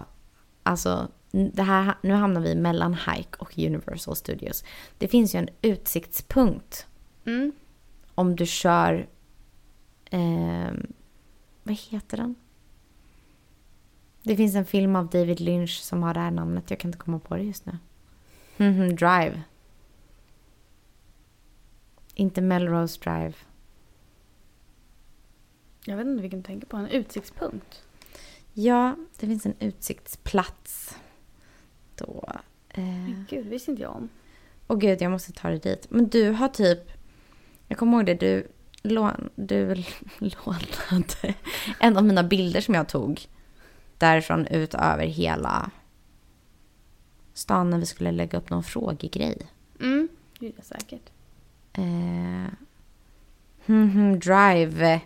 alltså n- det här, nu hamnar vi mellan Hike och Universal Studios. Det finns ju en utsiktspunkt
mm,
om du kör, ehm, vad heter den? Det finns en film av David Lynch som har det här namnet, jag kan inte komma på det just nu. Mhm, Drive. Inte Melrose Drive.
jag vet inte vilken du tänker på. En utsiktspunkt.
Ja, det finns en utsiktsplats. Då. Eh,
Men Gud, visste inte jag om.
och gud, jag måste ta dig dit. Men du har typ... Jag kommer ihåg det, du, lån, du [laughs] lånade en av mina bilder som jag tog. Därifrån ut över hela stan när vi skulle lägga upp någon frågegrej.
Mm, det gjorde jag säkert.
Eh, mhm, drive.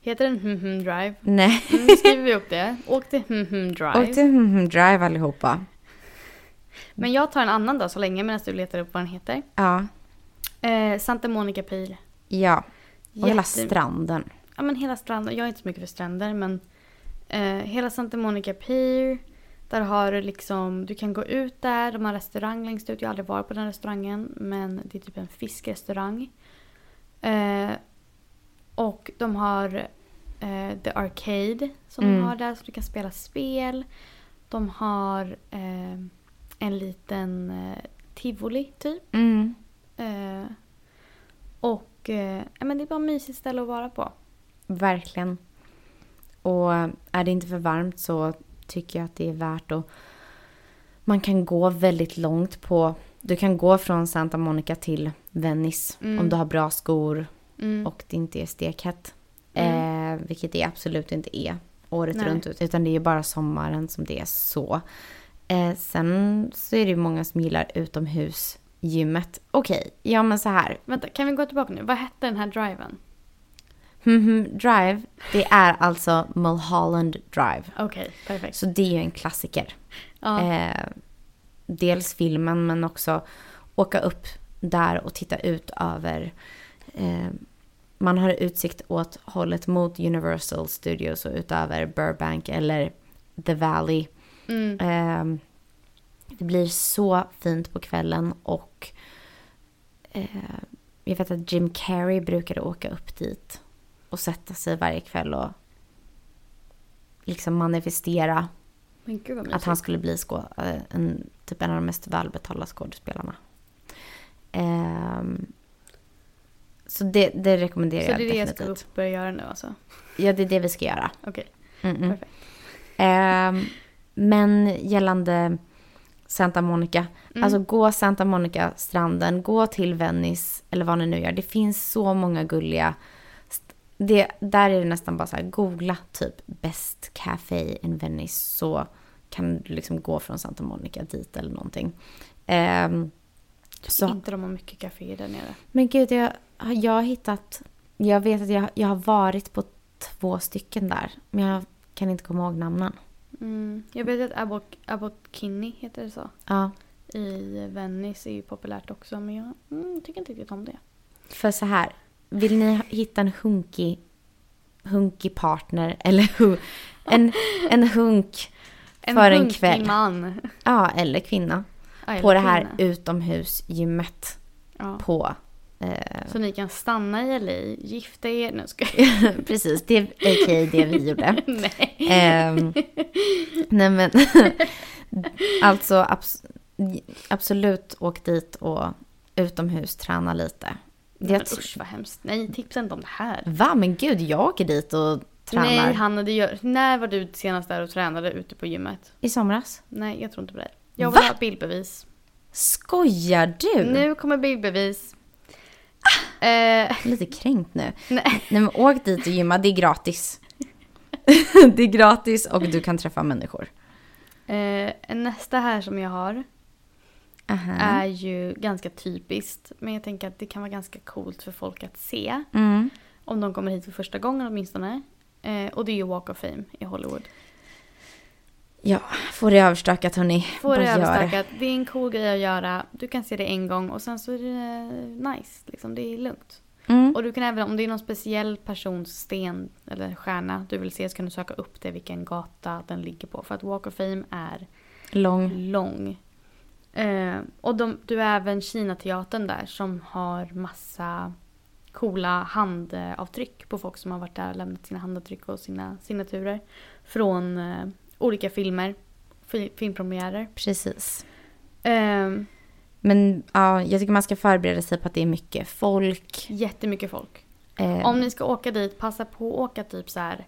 Heter den hmm hmm drive?
Nej.
Mm, då skriver vi upp det. Åk till hmm hmm drive.
Och till mhm, drive allihopa.
Men jag tar en annan då så länge medan du letar upp vad den heter.
Ja.
Eh, Santa Monica Pier.
Ja. Och hela
Jätte-
stranden.
Ja men hela stranden. Jag är inte så mycket för stränder men eh, hela Santa Monica Pier. Där har du liksom, du kan gå ut där, de har restaurang längst ut. Jag har aldrig varit på den restaurangen men det är typ en fiskrestaurang. Eh, och de har eh, The Arcade som de
Mm.
har där så du kan spela spel. De har eh, en liten eh, tivoli typ.
Mm.
Eh, och eh, ja, men det är bara ett mysigt ställe att vara på.
Verkligen. Och eh, är det inte för varmt så tycker jag att det är värt att man kan gå väldigt långt på Du kan gå från Santa Monica till Venice
Mm.
om du har bra skor
Mm.
och det inte är stekhett. Eh, vilket det absolut inte är året
Nej.
runt. ut- Utan det är ju bara sommaren som det är så. Eh, sen så är det ju många som gillar utomhusgymmet. Okej, ja men så här.
Vänta, kan vi gå tillbaka nu? Vad hette den här driven?
Mhm, drive, det är alltså Mulholland Drive.
Okej, perfekt.
Så det är ju en klassiker.
Ja.
Eh, dels filmen men också åka upp där och titta ut över. Eh, man har utsikt åt hållet mot Universal Studios och utöver Burbank eller The Valley.
Mm.
Eh, det blir så fint på kvällen och eh, jag vet att Jim Carrey brukade åka upp dit och sätta sig varje kväll och liksom manifestera
Men gud vad mysigt.
att han skulle bli skå, eh, en, typ en av de mest välbetalda skådespelarna. Ehm, så det, det rekommenderar
Så det är
jag
det jag
definitivt.
ska upp börja göra nu alltså?
Ja, det är det vi ska göra.
Okej,
Mm, mm.
perfekt.
Ehm, men gällande Santa Monica,
Mm.
alltså gå Santa Monica-stranden, gå till Venice eller vad ni nu gör. Det finns så många gulliga st- det, där är det nästan bara så här, googla typ best café in Venice så kan du liksom gå från Santa Monica dit eller någonting. Ehm,
så.
så,
Inte de har mycket kaféer där nere.
men gud, jag, jag har hittat, jag vet att jag, jag har varit på två stycken där, men jag kan inte komma ihåg namnen.
Mm. Jag vet att Abbot, Abbot Kinney heter det så.
Ja.
I Venice är ju populärt också men jag mm, tycker inte riktigt om det.
För så här, vill ni hitta en hunky, hunky partner eller [laughs] hu, en, en hunk, För en
hunkig
kväll.
man.
ja eller kvinna,
Ja, eller
på det här
kvinna.
utomhusgymmet
Ja.
på... Eh,
Så ni kan stanna i LA, gifta er. Nu ska jag...
[laughs] precis, det är okej det
[laughs]
vi gjorde.
Nej.
Ehm, nej men, [laughs] alltså abs- absolut åk dit och utomhus träna lite.
Men
Jag
usch vad hemskt. Nej, tipsa inte om det här.
Va? Men gud, jag åker dit och tränar.
Nej Hanna, det gör... när var du senast där och tränade ute på gymmet?
I somras.
Nej, jag tror inte på det. Jag
Va?
vill ha bildbevis.
Skojar du?
Nu kommer bildbevis.
Ah!
Eh,
Lite kränkt nu.
nej.
Nej men åk dit och gymma, det är
[laughs]
gratis. det är gratis och du kan träffa människor.
Eh, nästa här som jag
Mm.
har
Aha.
är ju ganska typiskt. Men jag tänker att det kan vara ganska coolt för folk att se.
Mm.
Om de kommer hit för första gången åtminstone. Eh, och det är ju Walk of Fame i Hollywood.
Ja, får det överstökat hörni.
Får
Bara
det
gör
överstökat. Det är en cool grej att göra. Du kan se det en gång och sen så är det eh, nice. Liksom. Det är lugnt.
Mm.
Och du kan även om det är någon speciell persons sten eller stjärna du vill se så kan du söka upp det vilken gata den ligger på. För att Walk of Fame är
Lång.
lång. Eh, och de, du är även Kina-teatern där som har massa coola handavtryck på folk som har varit där och lämnat sina handavtryck och sina signaturer. Från eh, olika filmer, fi- filmpremiärer.
Precis.
Eh,
Men ja, jag tycker man ska förbereda sig på att det är mycket folk.
jättemycket folk.
Eh,
Om ni ska åka dit, passa på att åka typ så här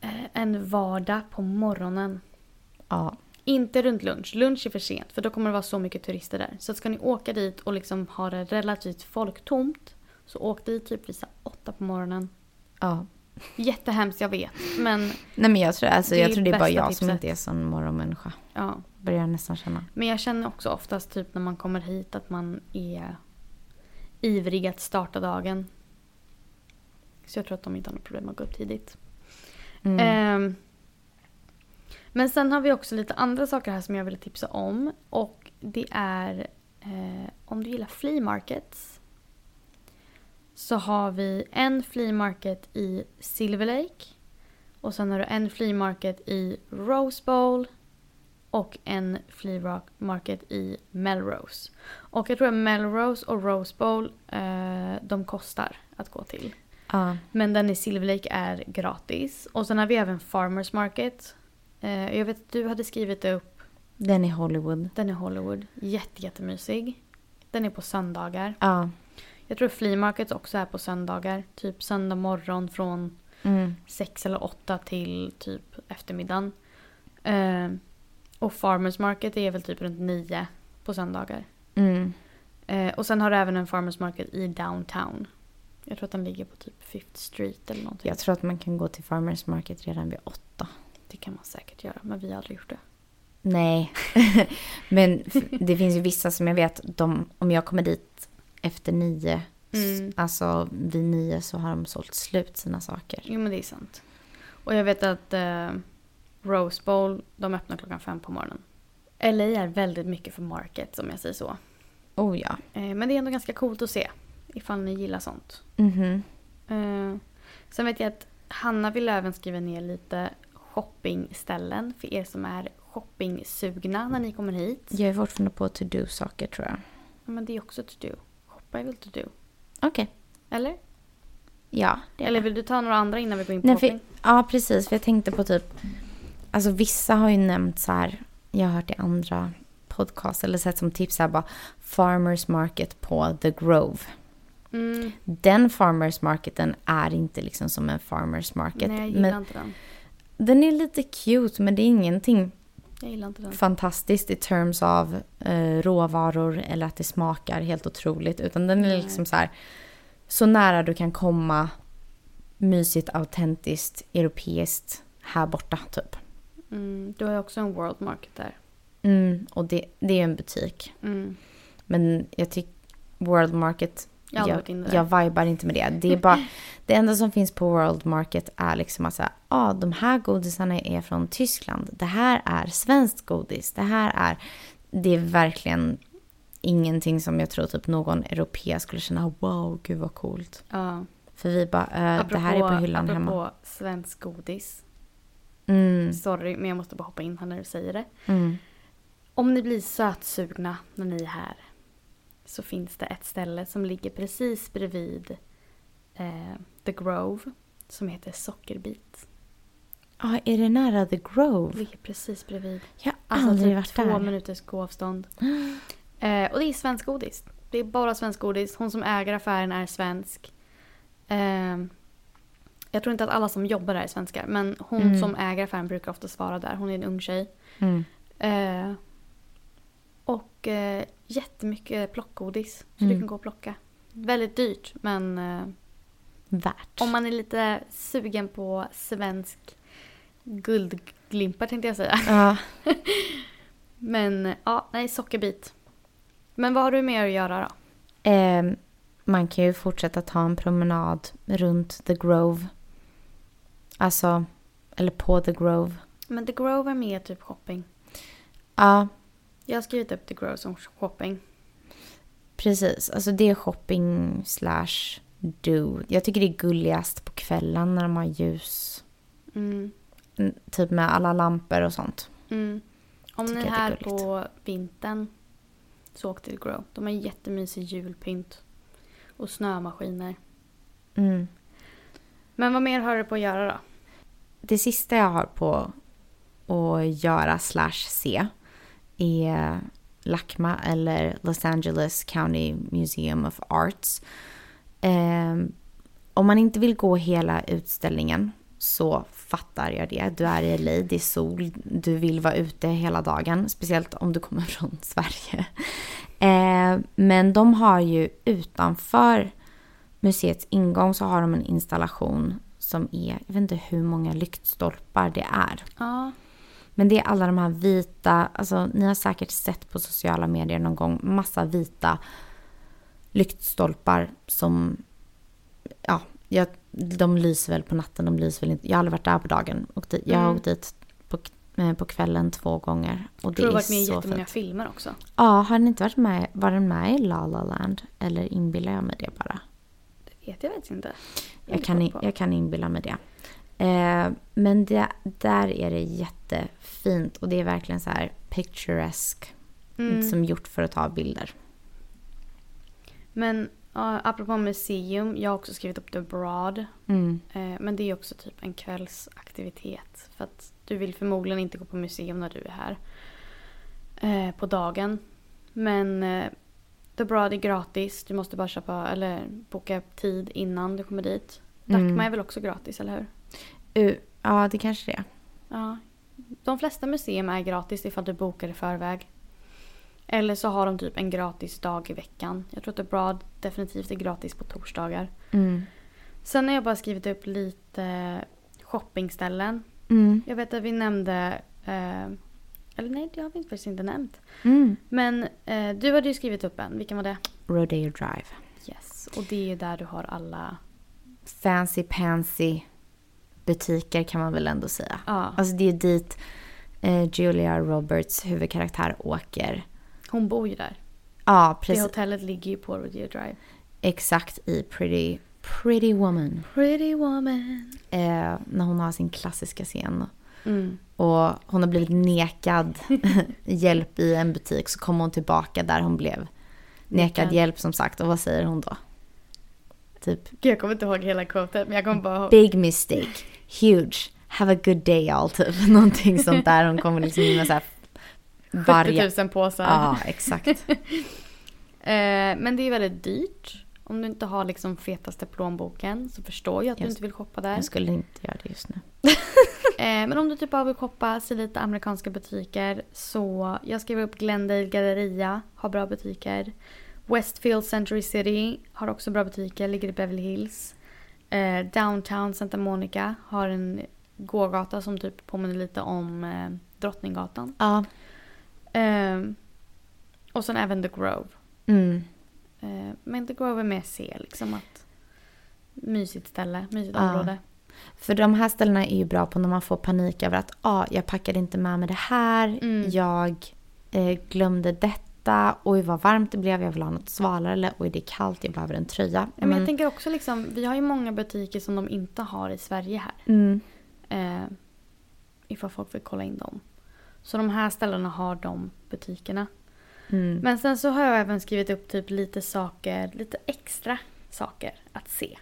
eh, en vardag på morgonen.
ja.
Inte runt lunch. Lunch är för sent för då kommer det vara så mycket turister där. Så att ska ni åka dit och liksom ha det relativt folktomt så åk dit typ vid så här åtta på morgonen.
ja.
Jättehemskt, jag vet. Men
Nej men jag tror, alltså,
Det är
jag tror det är bara
bästa
jag som
tipset.
inte är sån morgonmänniska.
ja.
Börjar jag nästan känna.
Men jag känner också oftast typ när man kommer hit att man är ivrig att starta dagen. Så jag tror att de inte har något problem att gå upp tidigt.
Mm.
Ehm, men sen har vi också lite andra saker här som jag ville tipsa om. Och det är eh, om du gillar flea markets. Så har vi en flea market i Silver Lake. Och sen har du en flea market i Rose Bowl. Och en flea rock- market i Melrose. Och jag tror att Melrose och Rose Bowl eh, de kostar att gå till.
ja.
Men den i Silver Lake är gratis. Och sen har vi även Farmers Market. Eh, jag vet att du hade skrivit upp.
Den i Hollywood.
Den är Hollywood. Jätte, jättemysig. Den är på söndagar.
Ja.
Jag tror Flea Market också är på söndagar. Typ söndag morgon från
Mm.
sex eller åtta till typ eftermiddagen. Eh, och Farmers Market är väl typ runt nio på söndagar.
Mm.
Eh, och sen har du även en farmers market i downtown. Jag tror att den ligger på typ Fifth Street eller någonting.
Jag tror att man kan gå till Farmers Market redan vid åtta.
Det kan man säkert göra, men vi har aldrig gjort det.
Nej, [laughs] men f- det finns ju vissa som jag vet, de, om jag kommer dit efter nio, s-
Mm.
alltså vid nio så har de sålt slut sina saker.
Jo men det är sant. Och jag vet att eh, Rose Bowl, de öppnar klockan fem på morgonen. LA är väldigt mycket för market om jag säger så.
Oh ja.
Eh, men det är ändå ganska coolt att se. Ifall ni gillar sånt.
Mhm.
Eh, sen vet jag att Hanna vill även skriva ner lite shoppingställen för er som är shopping-sugna när ni kommer hit.
Jag är fortfarande på to-do-saker tror jag.
Men det är också to do. Shoppa är väl to do?
Okej.
Eller?
Ja, det är
Eller
det.
vill du ta några andra innan vi går in på
Nej, för,
shopping?
ja, precis. För jag tänkte på typ... Alltså vissa har ju nämnt så här... Jag har hört i andra podcast eller sett som tips så här bara Farmers Market på The Grove.
Mm,
Den Farmers Marketen är inte liksom som en Farmers Market.
nej, jag gillar
men
inte den.
den är lite cute men det är ingenting
Jag gillar inte den.
fantastiskt i terms av eh, råvaror eller att det smakar helt otroligt. Utan den är
Nej.
liksom så här så nära du kan komma mysigt, autentiskt, europeiskt här borta typ.
Mm, du har ju också en world market där.
Mm, och det, det är ju en butik.
Mm.
Men jag tycker World Market,
Jag har aldrig varit inne där.
jag vibar inte med det. Det, är bara,
[laughs]
det enda som finns på World Market är liksom att säga, ah, de här godisarna är från Tyskland. Det här är svenskt godis. Det här är... Det är verkligen ingenting som jag tror typ någon europé skulle känna, wow, gud vad coolt.
Ja.
För vi bara, eh, det här är på hyllan
apropå
hemma.
Apropå svensk godis.
Mm,
Sorry, men jag måste bara hoppa in här när du säger det.
mm.
Om ni blir sötsugna när ni är här så finns det ett ställe som ligger precis bredvid eh, The Grove som heter Sockerbit.
Ah, är det nära The
Det
Grove?
ligger precis bredvid.
Jag har
Alltså
aldrig
typ
varit
två
där.
minuters gåavstånd. Eh, och det är svensk godis. Det är bara svensk godis. Hon som äger affären är svensk. Eh, jag tror inte att alla som jobbar där är svenskar. Men hon
Mm.
som äger affären brukar ofta svara där. Hon är en ung tjej.
[gasps] Mm.
Eh, och eh, jättemycket plockgodis. Så du
Mm.
kan gå och plocka. Väldigt dyrt men eh,
Värt.
om man är lite sugen på svensk guldglimpar tänkte jag säga. [laughs]
Ja.
Men ja, nej sockerbit. Men vad har du mer att göra då?
Eh, man kan ju fortsätta ta en promenad runt The Grove. Alltså, eller på The Grove.
Men The Grove är med typ shopping.
Ja,
Jag har skrivit upp The Grove som shopping.
precis. Alltså det är shopping slash do. Jag tycker det är gulligast på kvällen när de har ljus.
Mm.
Mm, Typ med alla lampor och sånt.
Mm. Om
Tycker
ni är
jag det är
här
gulligt.
på vintern så åk till The Grove. De har jättemysig julpynt. Och snömaskiner.
Mm.
Men vad mer har du på att göra då?
Det sista jag har på att göra slash se är LACMA eller Los Angeles County Museum of Arts. Ehm, om man inte vill gå hela utställningen så fattar jag det. Du är i LA, det är sol, du vill vara ute hela dagen. Speciellt om du kommer [laughs] från Sverige. Ehm, men de har ju utanför museets ingång så har de en installation som är, jag vet inte hur många lyktstolpar det är.
Ja.
Men det är alla de här vita, alltså ni har säkert sett på sociala medier någon gång, massa vita lyktstolpar som, ja, jag, de lyser väl på natten, de lyser väl inte, jag har aldrig varit där på dagen. Och det, jag har
Mm.
åkt dit på, eh, på kvällen två gånger och
Jag tror
det
du har
är
varit med i
så
jättemånga
fint.
filmer också.
Ja, har den inte varit med, var den med i La La Land? Eller inbillar jag mig det bara?
Det vet jag faktiskt inte.
Jag kan, i-
inte.
jag kan inbilla mig det. Eh, men det, där är det jättefint och det är verkligen så här picturesque.
Mm.
Som gjort för att ta bilder.
Men ja, apropå museum, jag har också skrivit upp The Broad.
Mm.
Eh, Men det är också typ en kvällsaktivitet. För att du vill förmodligen inte gå på museum när du är här. eh, På dagen. Men eh, The Broad är gratis. Du måste bara köpa, eller boka tid innan du kommer dit.
Mm.
Dacma är väl också gratis, eller hur?
U- ja, det kanske det är.
Ja. De flesta museum är gratis ifall du bokar i förväg. Eller så har de typ en gratis dag i veckan. Jag tror att det är bra definitivt är gratis på torsdagar.
Mm.
Sen har jag bara skrivit upp lite shoppingställen.
Mm.
Jag vet att vi nämnde, eh, eller nej det har vi faktiskt inte nämnt.
Mm.
Men eh, du hade ju skrivit upp en, vilken var det?
Rodeo Drive.
Yes, och det är ju där du har alla.
Fancy pansy butiker kan man väl ändå säga.
Ja,
Alltså det är dit eh, Julia Roberts huvudkaraktär åker.
hon bor ju där.
Ja,
Det
precis.
hotellet ligger ju på Rodeo Drive.
Exakt i Pretty, Pretty Woman.
Pretty woman.
Eh, när hon har sin klassiska scen.
Mm.
Och hon har blivit nekad [laughs] hjälp i en butik. Så kommer hon tillbaka där hon blev nekad
Nekad.
hjälp som sagt. Och vad säger hon då? Typ
Gud, jag kommer inte ihåg hela quotet men jag kommer bara ihåg.
big mistake, huge, have a good day all typ. [laughs] Någonting sånt där. Hon kommer liksom in med så här varje...
70 000 påsar.
Ja, exakt.
Eh, men det är väldigt dyrt. Om du inte har liksom fetaste plånboken så förstår jag att du
Just.
inte vill shoppa där.
Jag skulle inte göra det just nu.
Eh, men om du typ bara vill shoppa, se lite amerikanska butiker så jag skriver upp Glendale Galleria, har bra butiker. Westfield Century City har också bra butiker, ligger i Beverly Hills. Eh, Downtown Santa Monica har en gågata som typ påminner lite om eh, Drottninggatan.
Ja.
Eh, och sen även The Grove.
Mm.
Eh, men The Grove är mer C liksom att mysigt ställe, mysigt
Ja.
område.
För de här ställena är ju bra på när man får panik över att ah, jag packade inte med mig det här,
Mm.
jag eh, glömde detta, oj vad varmt det blev, jag vill ha något svalare, eller oj det är kallt, jag behöver en tröja.
Men, men
Men-
jag tänker också liksom, vi har ju många butiker som de inte har i Sverige här.
mm,
Eh, ifall folk vill kolla in dem. Så de här ställena har de butikerna.
mm.
Men sen så har jag även skrivit upp typ lite saker, lite extra saker att se.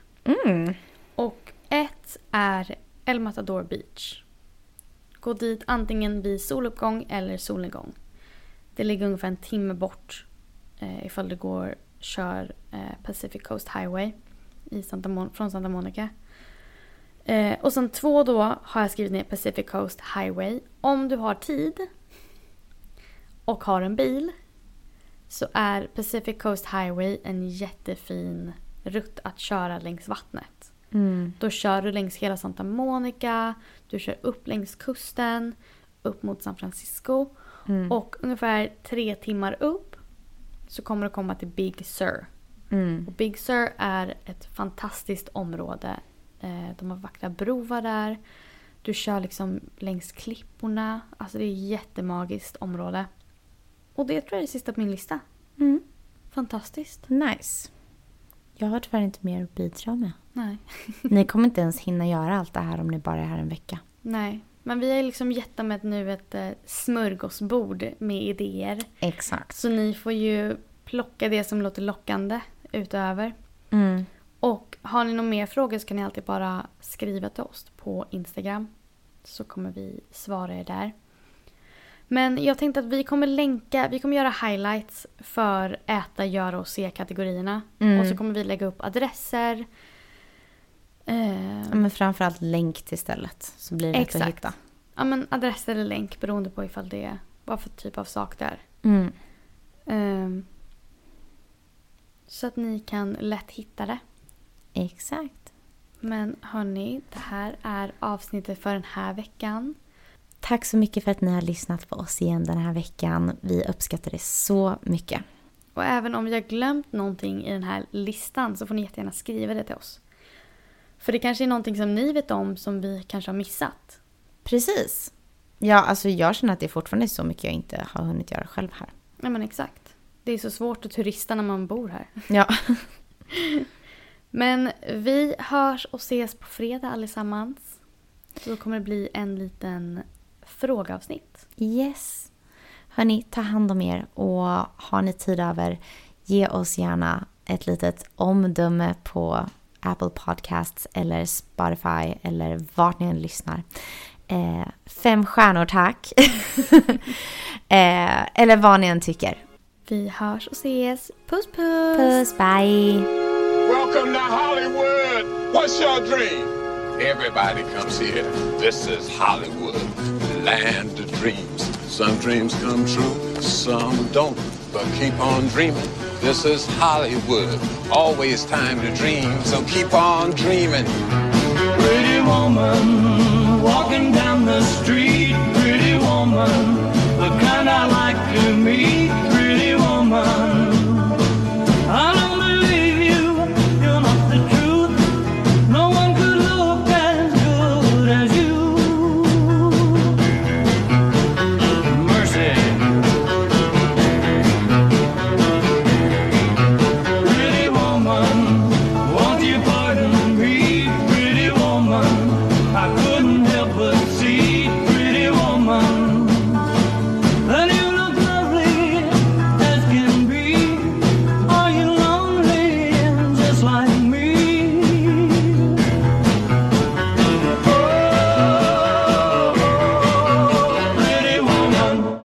mm.
Och ett är El Matador Beach. Gå dit antingen vid soluppgång eller solnedgång. Det ligger ungefär en timme bort eh, ifall du går kör eh, Pacific Coast Highway i Santa Mon- från Santa Monica. Eh, och sen två då har jag skrivit ner Pacific Coast Highway. Om du har tid och har en bil så är Pacific Coast Highway en jättefin rutt att köra längs vattnet.
Mm.
Då kör du längs hela Santa Monica, du kör upp längs kusten, upp mot San Francisco.
Mm.
Och ungefär tre timmar upp så kommer du komma till Big Sur.
Mm.
Och Big Sur är ett fantastiskt område. Eh, De har vackra broar där. Du kör liksom längs klipporna. Alltså det är ett jättemagiskt område. Och det tror jag är det sista på min lista.
Mm.
Fantastiskt.
Nice. Jag har tyvärr inte mer att
[laughs]
bidra med.
Nej.
Ni kommer inte ens hinna göra allt det här om ni bara är här en vecka.
Nej. Men vi har ju liksom gett dem ett, nu ett eh, smörgåsbord med idéer.
Exakt.
Så ni får ju plocka det som låter lockande utöver.
Mm.
Och har ni några mer frågor så kan ni alltid bara skriva till oss på Instagram. Så kommer vi svara er där. Men jag tänkte att vi kommer länka, vi kommer göra highlights för äta, göra och se-kategorierna.
Mm.
Och så kommer vi lägga upp adresser. Eh,
Ja, Men framförallt länk till stället så blir det lätt att
Exakt.
hitta.
ja men adress eller länk beroende på ifall det är vad för typ av sak det är.
Mm.
Ehm, så att ni kan lätt hitta det.
Exakt.
Men hörni, det här är avsnittet för den här veckan.
Tack så mycket för att ni har lyssnat på oss igen den här veckan. Vi uppskattar det så mycket.
Och även om vi har glömt någonting i den här listan så får ni jättegärna skriva det till oss. För det kanske är någonting som ni vet om som vi kanske har missat.
Precis. Ja, alltså jag känner att det fortfarande är så mycket jag inte har hunnit göra själv här.
Ja men exakt. Det är så svårt att turista när man bor här.
Ja.
[laughs] Men vi hörs och ses på fredag allesammans. Då kommer det bli en liten frågeavsnitt.
Yes. Hörni, ta hand om er och har ni tid över, ge oss gärna ett litet omdöme på Apple Podcasts eller Spotify eller vart ni än lyssnar. Eh, fem stjärnor tack. [laughs] eh, eller vad ni än tycker.
Vi hörs och ses. Puss puss!
Puss, bye!
Welcome to Hollywood. What's your dream? Everybody comes here. This is Hollywood, land of dreams. Some dreams come true, some don't. but keep on dreaming. This is Hollywood. Always time to dream, so keep on dreaming.
Pretty woman, walking down the street. Pretty woman, the kind I like to meet.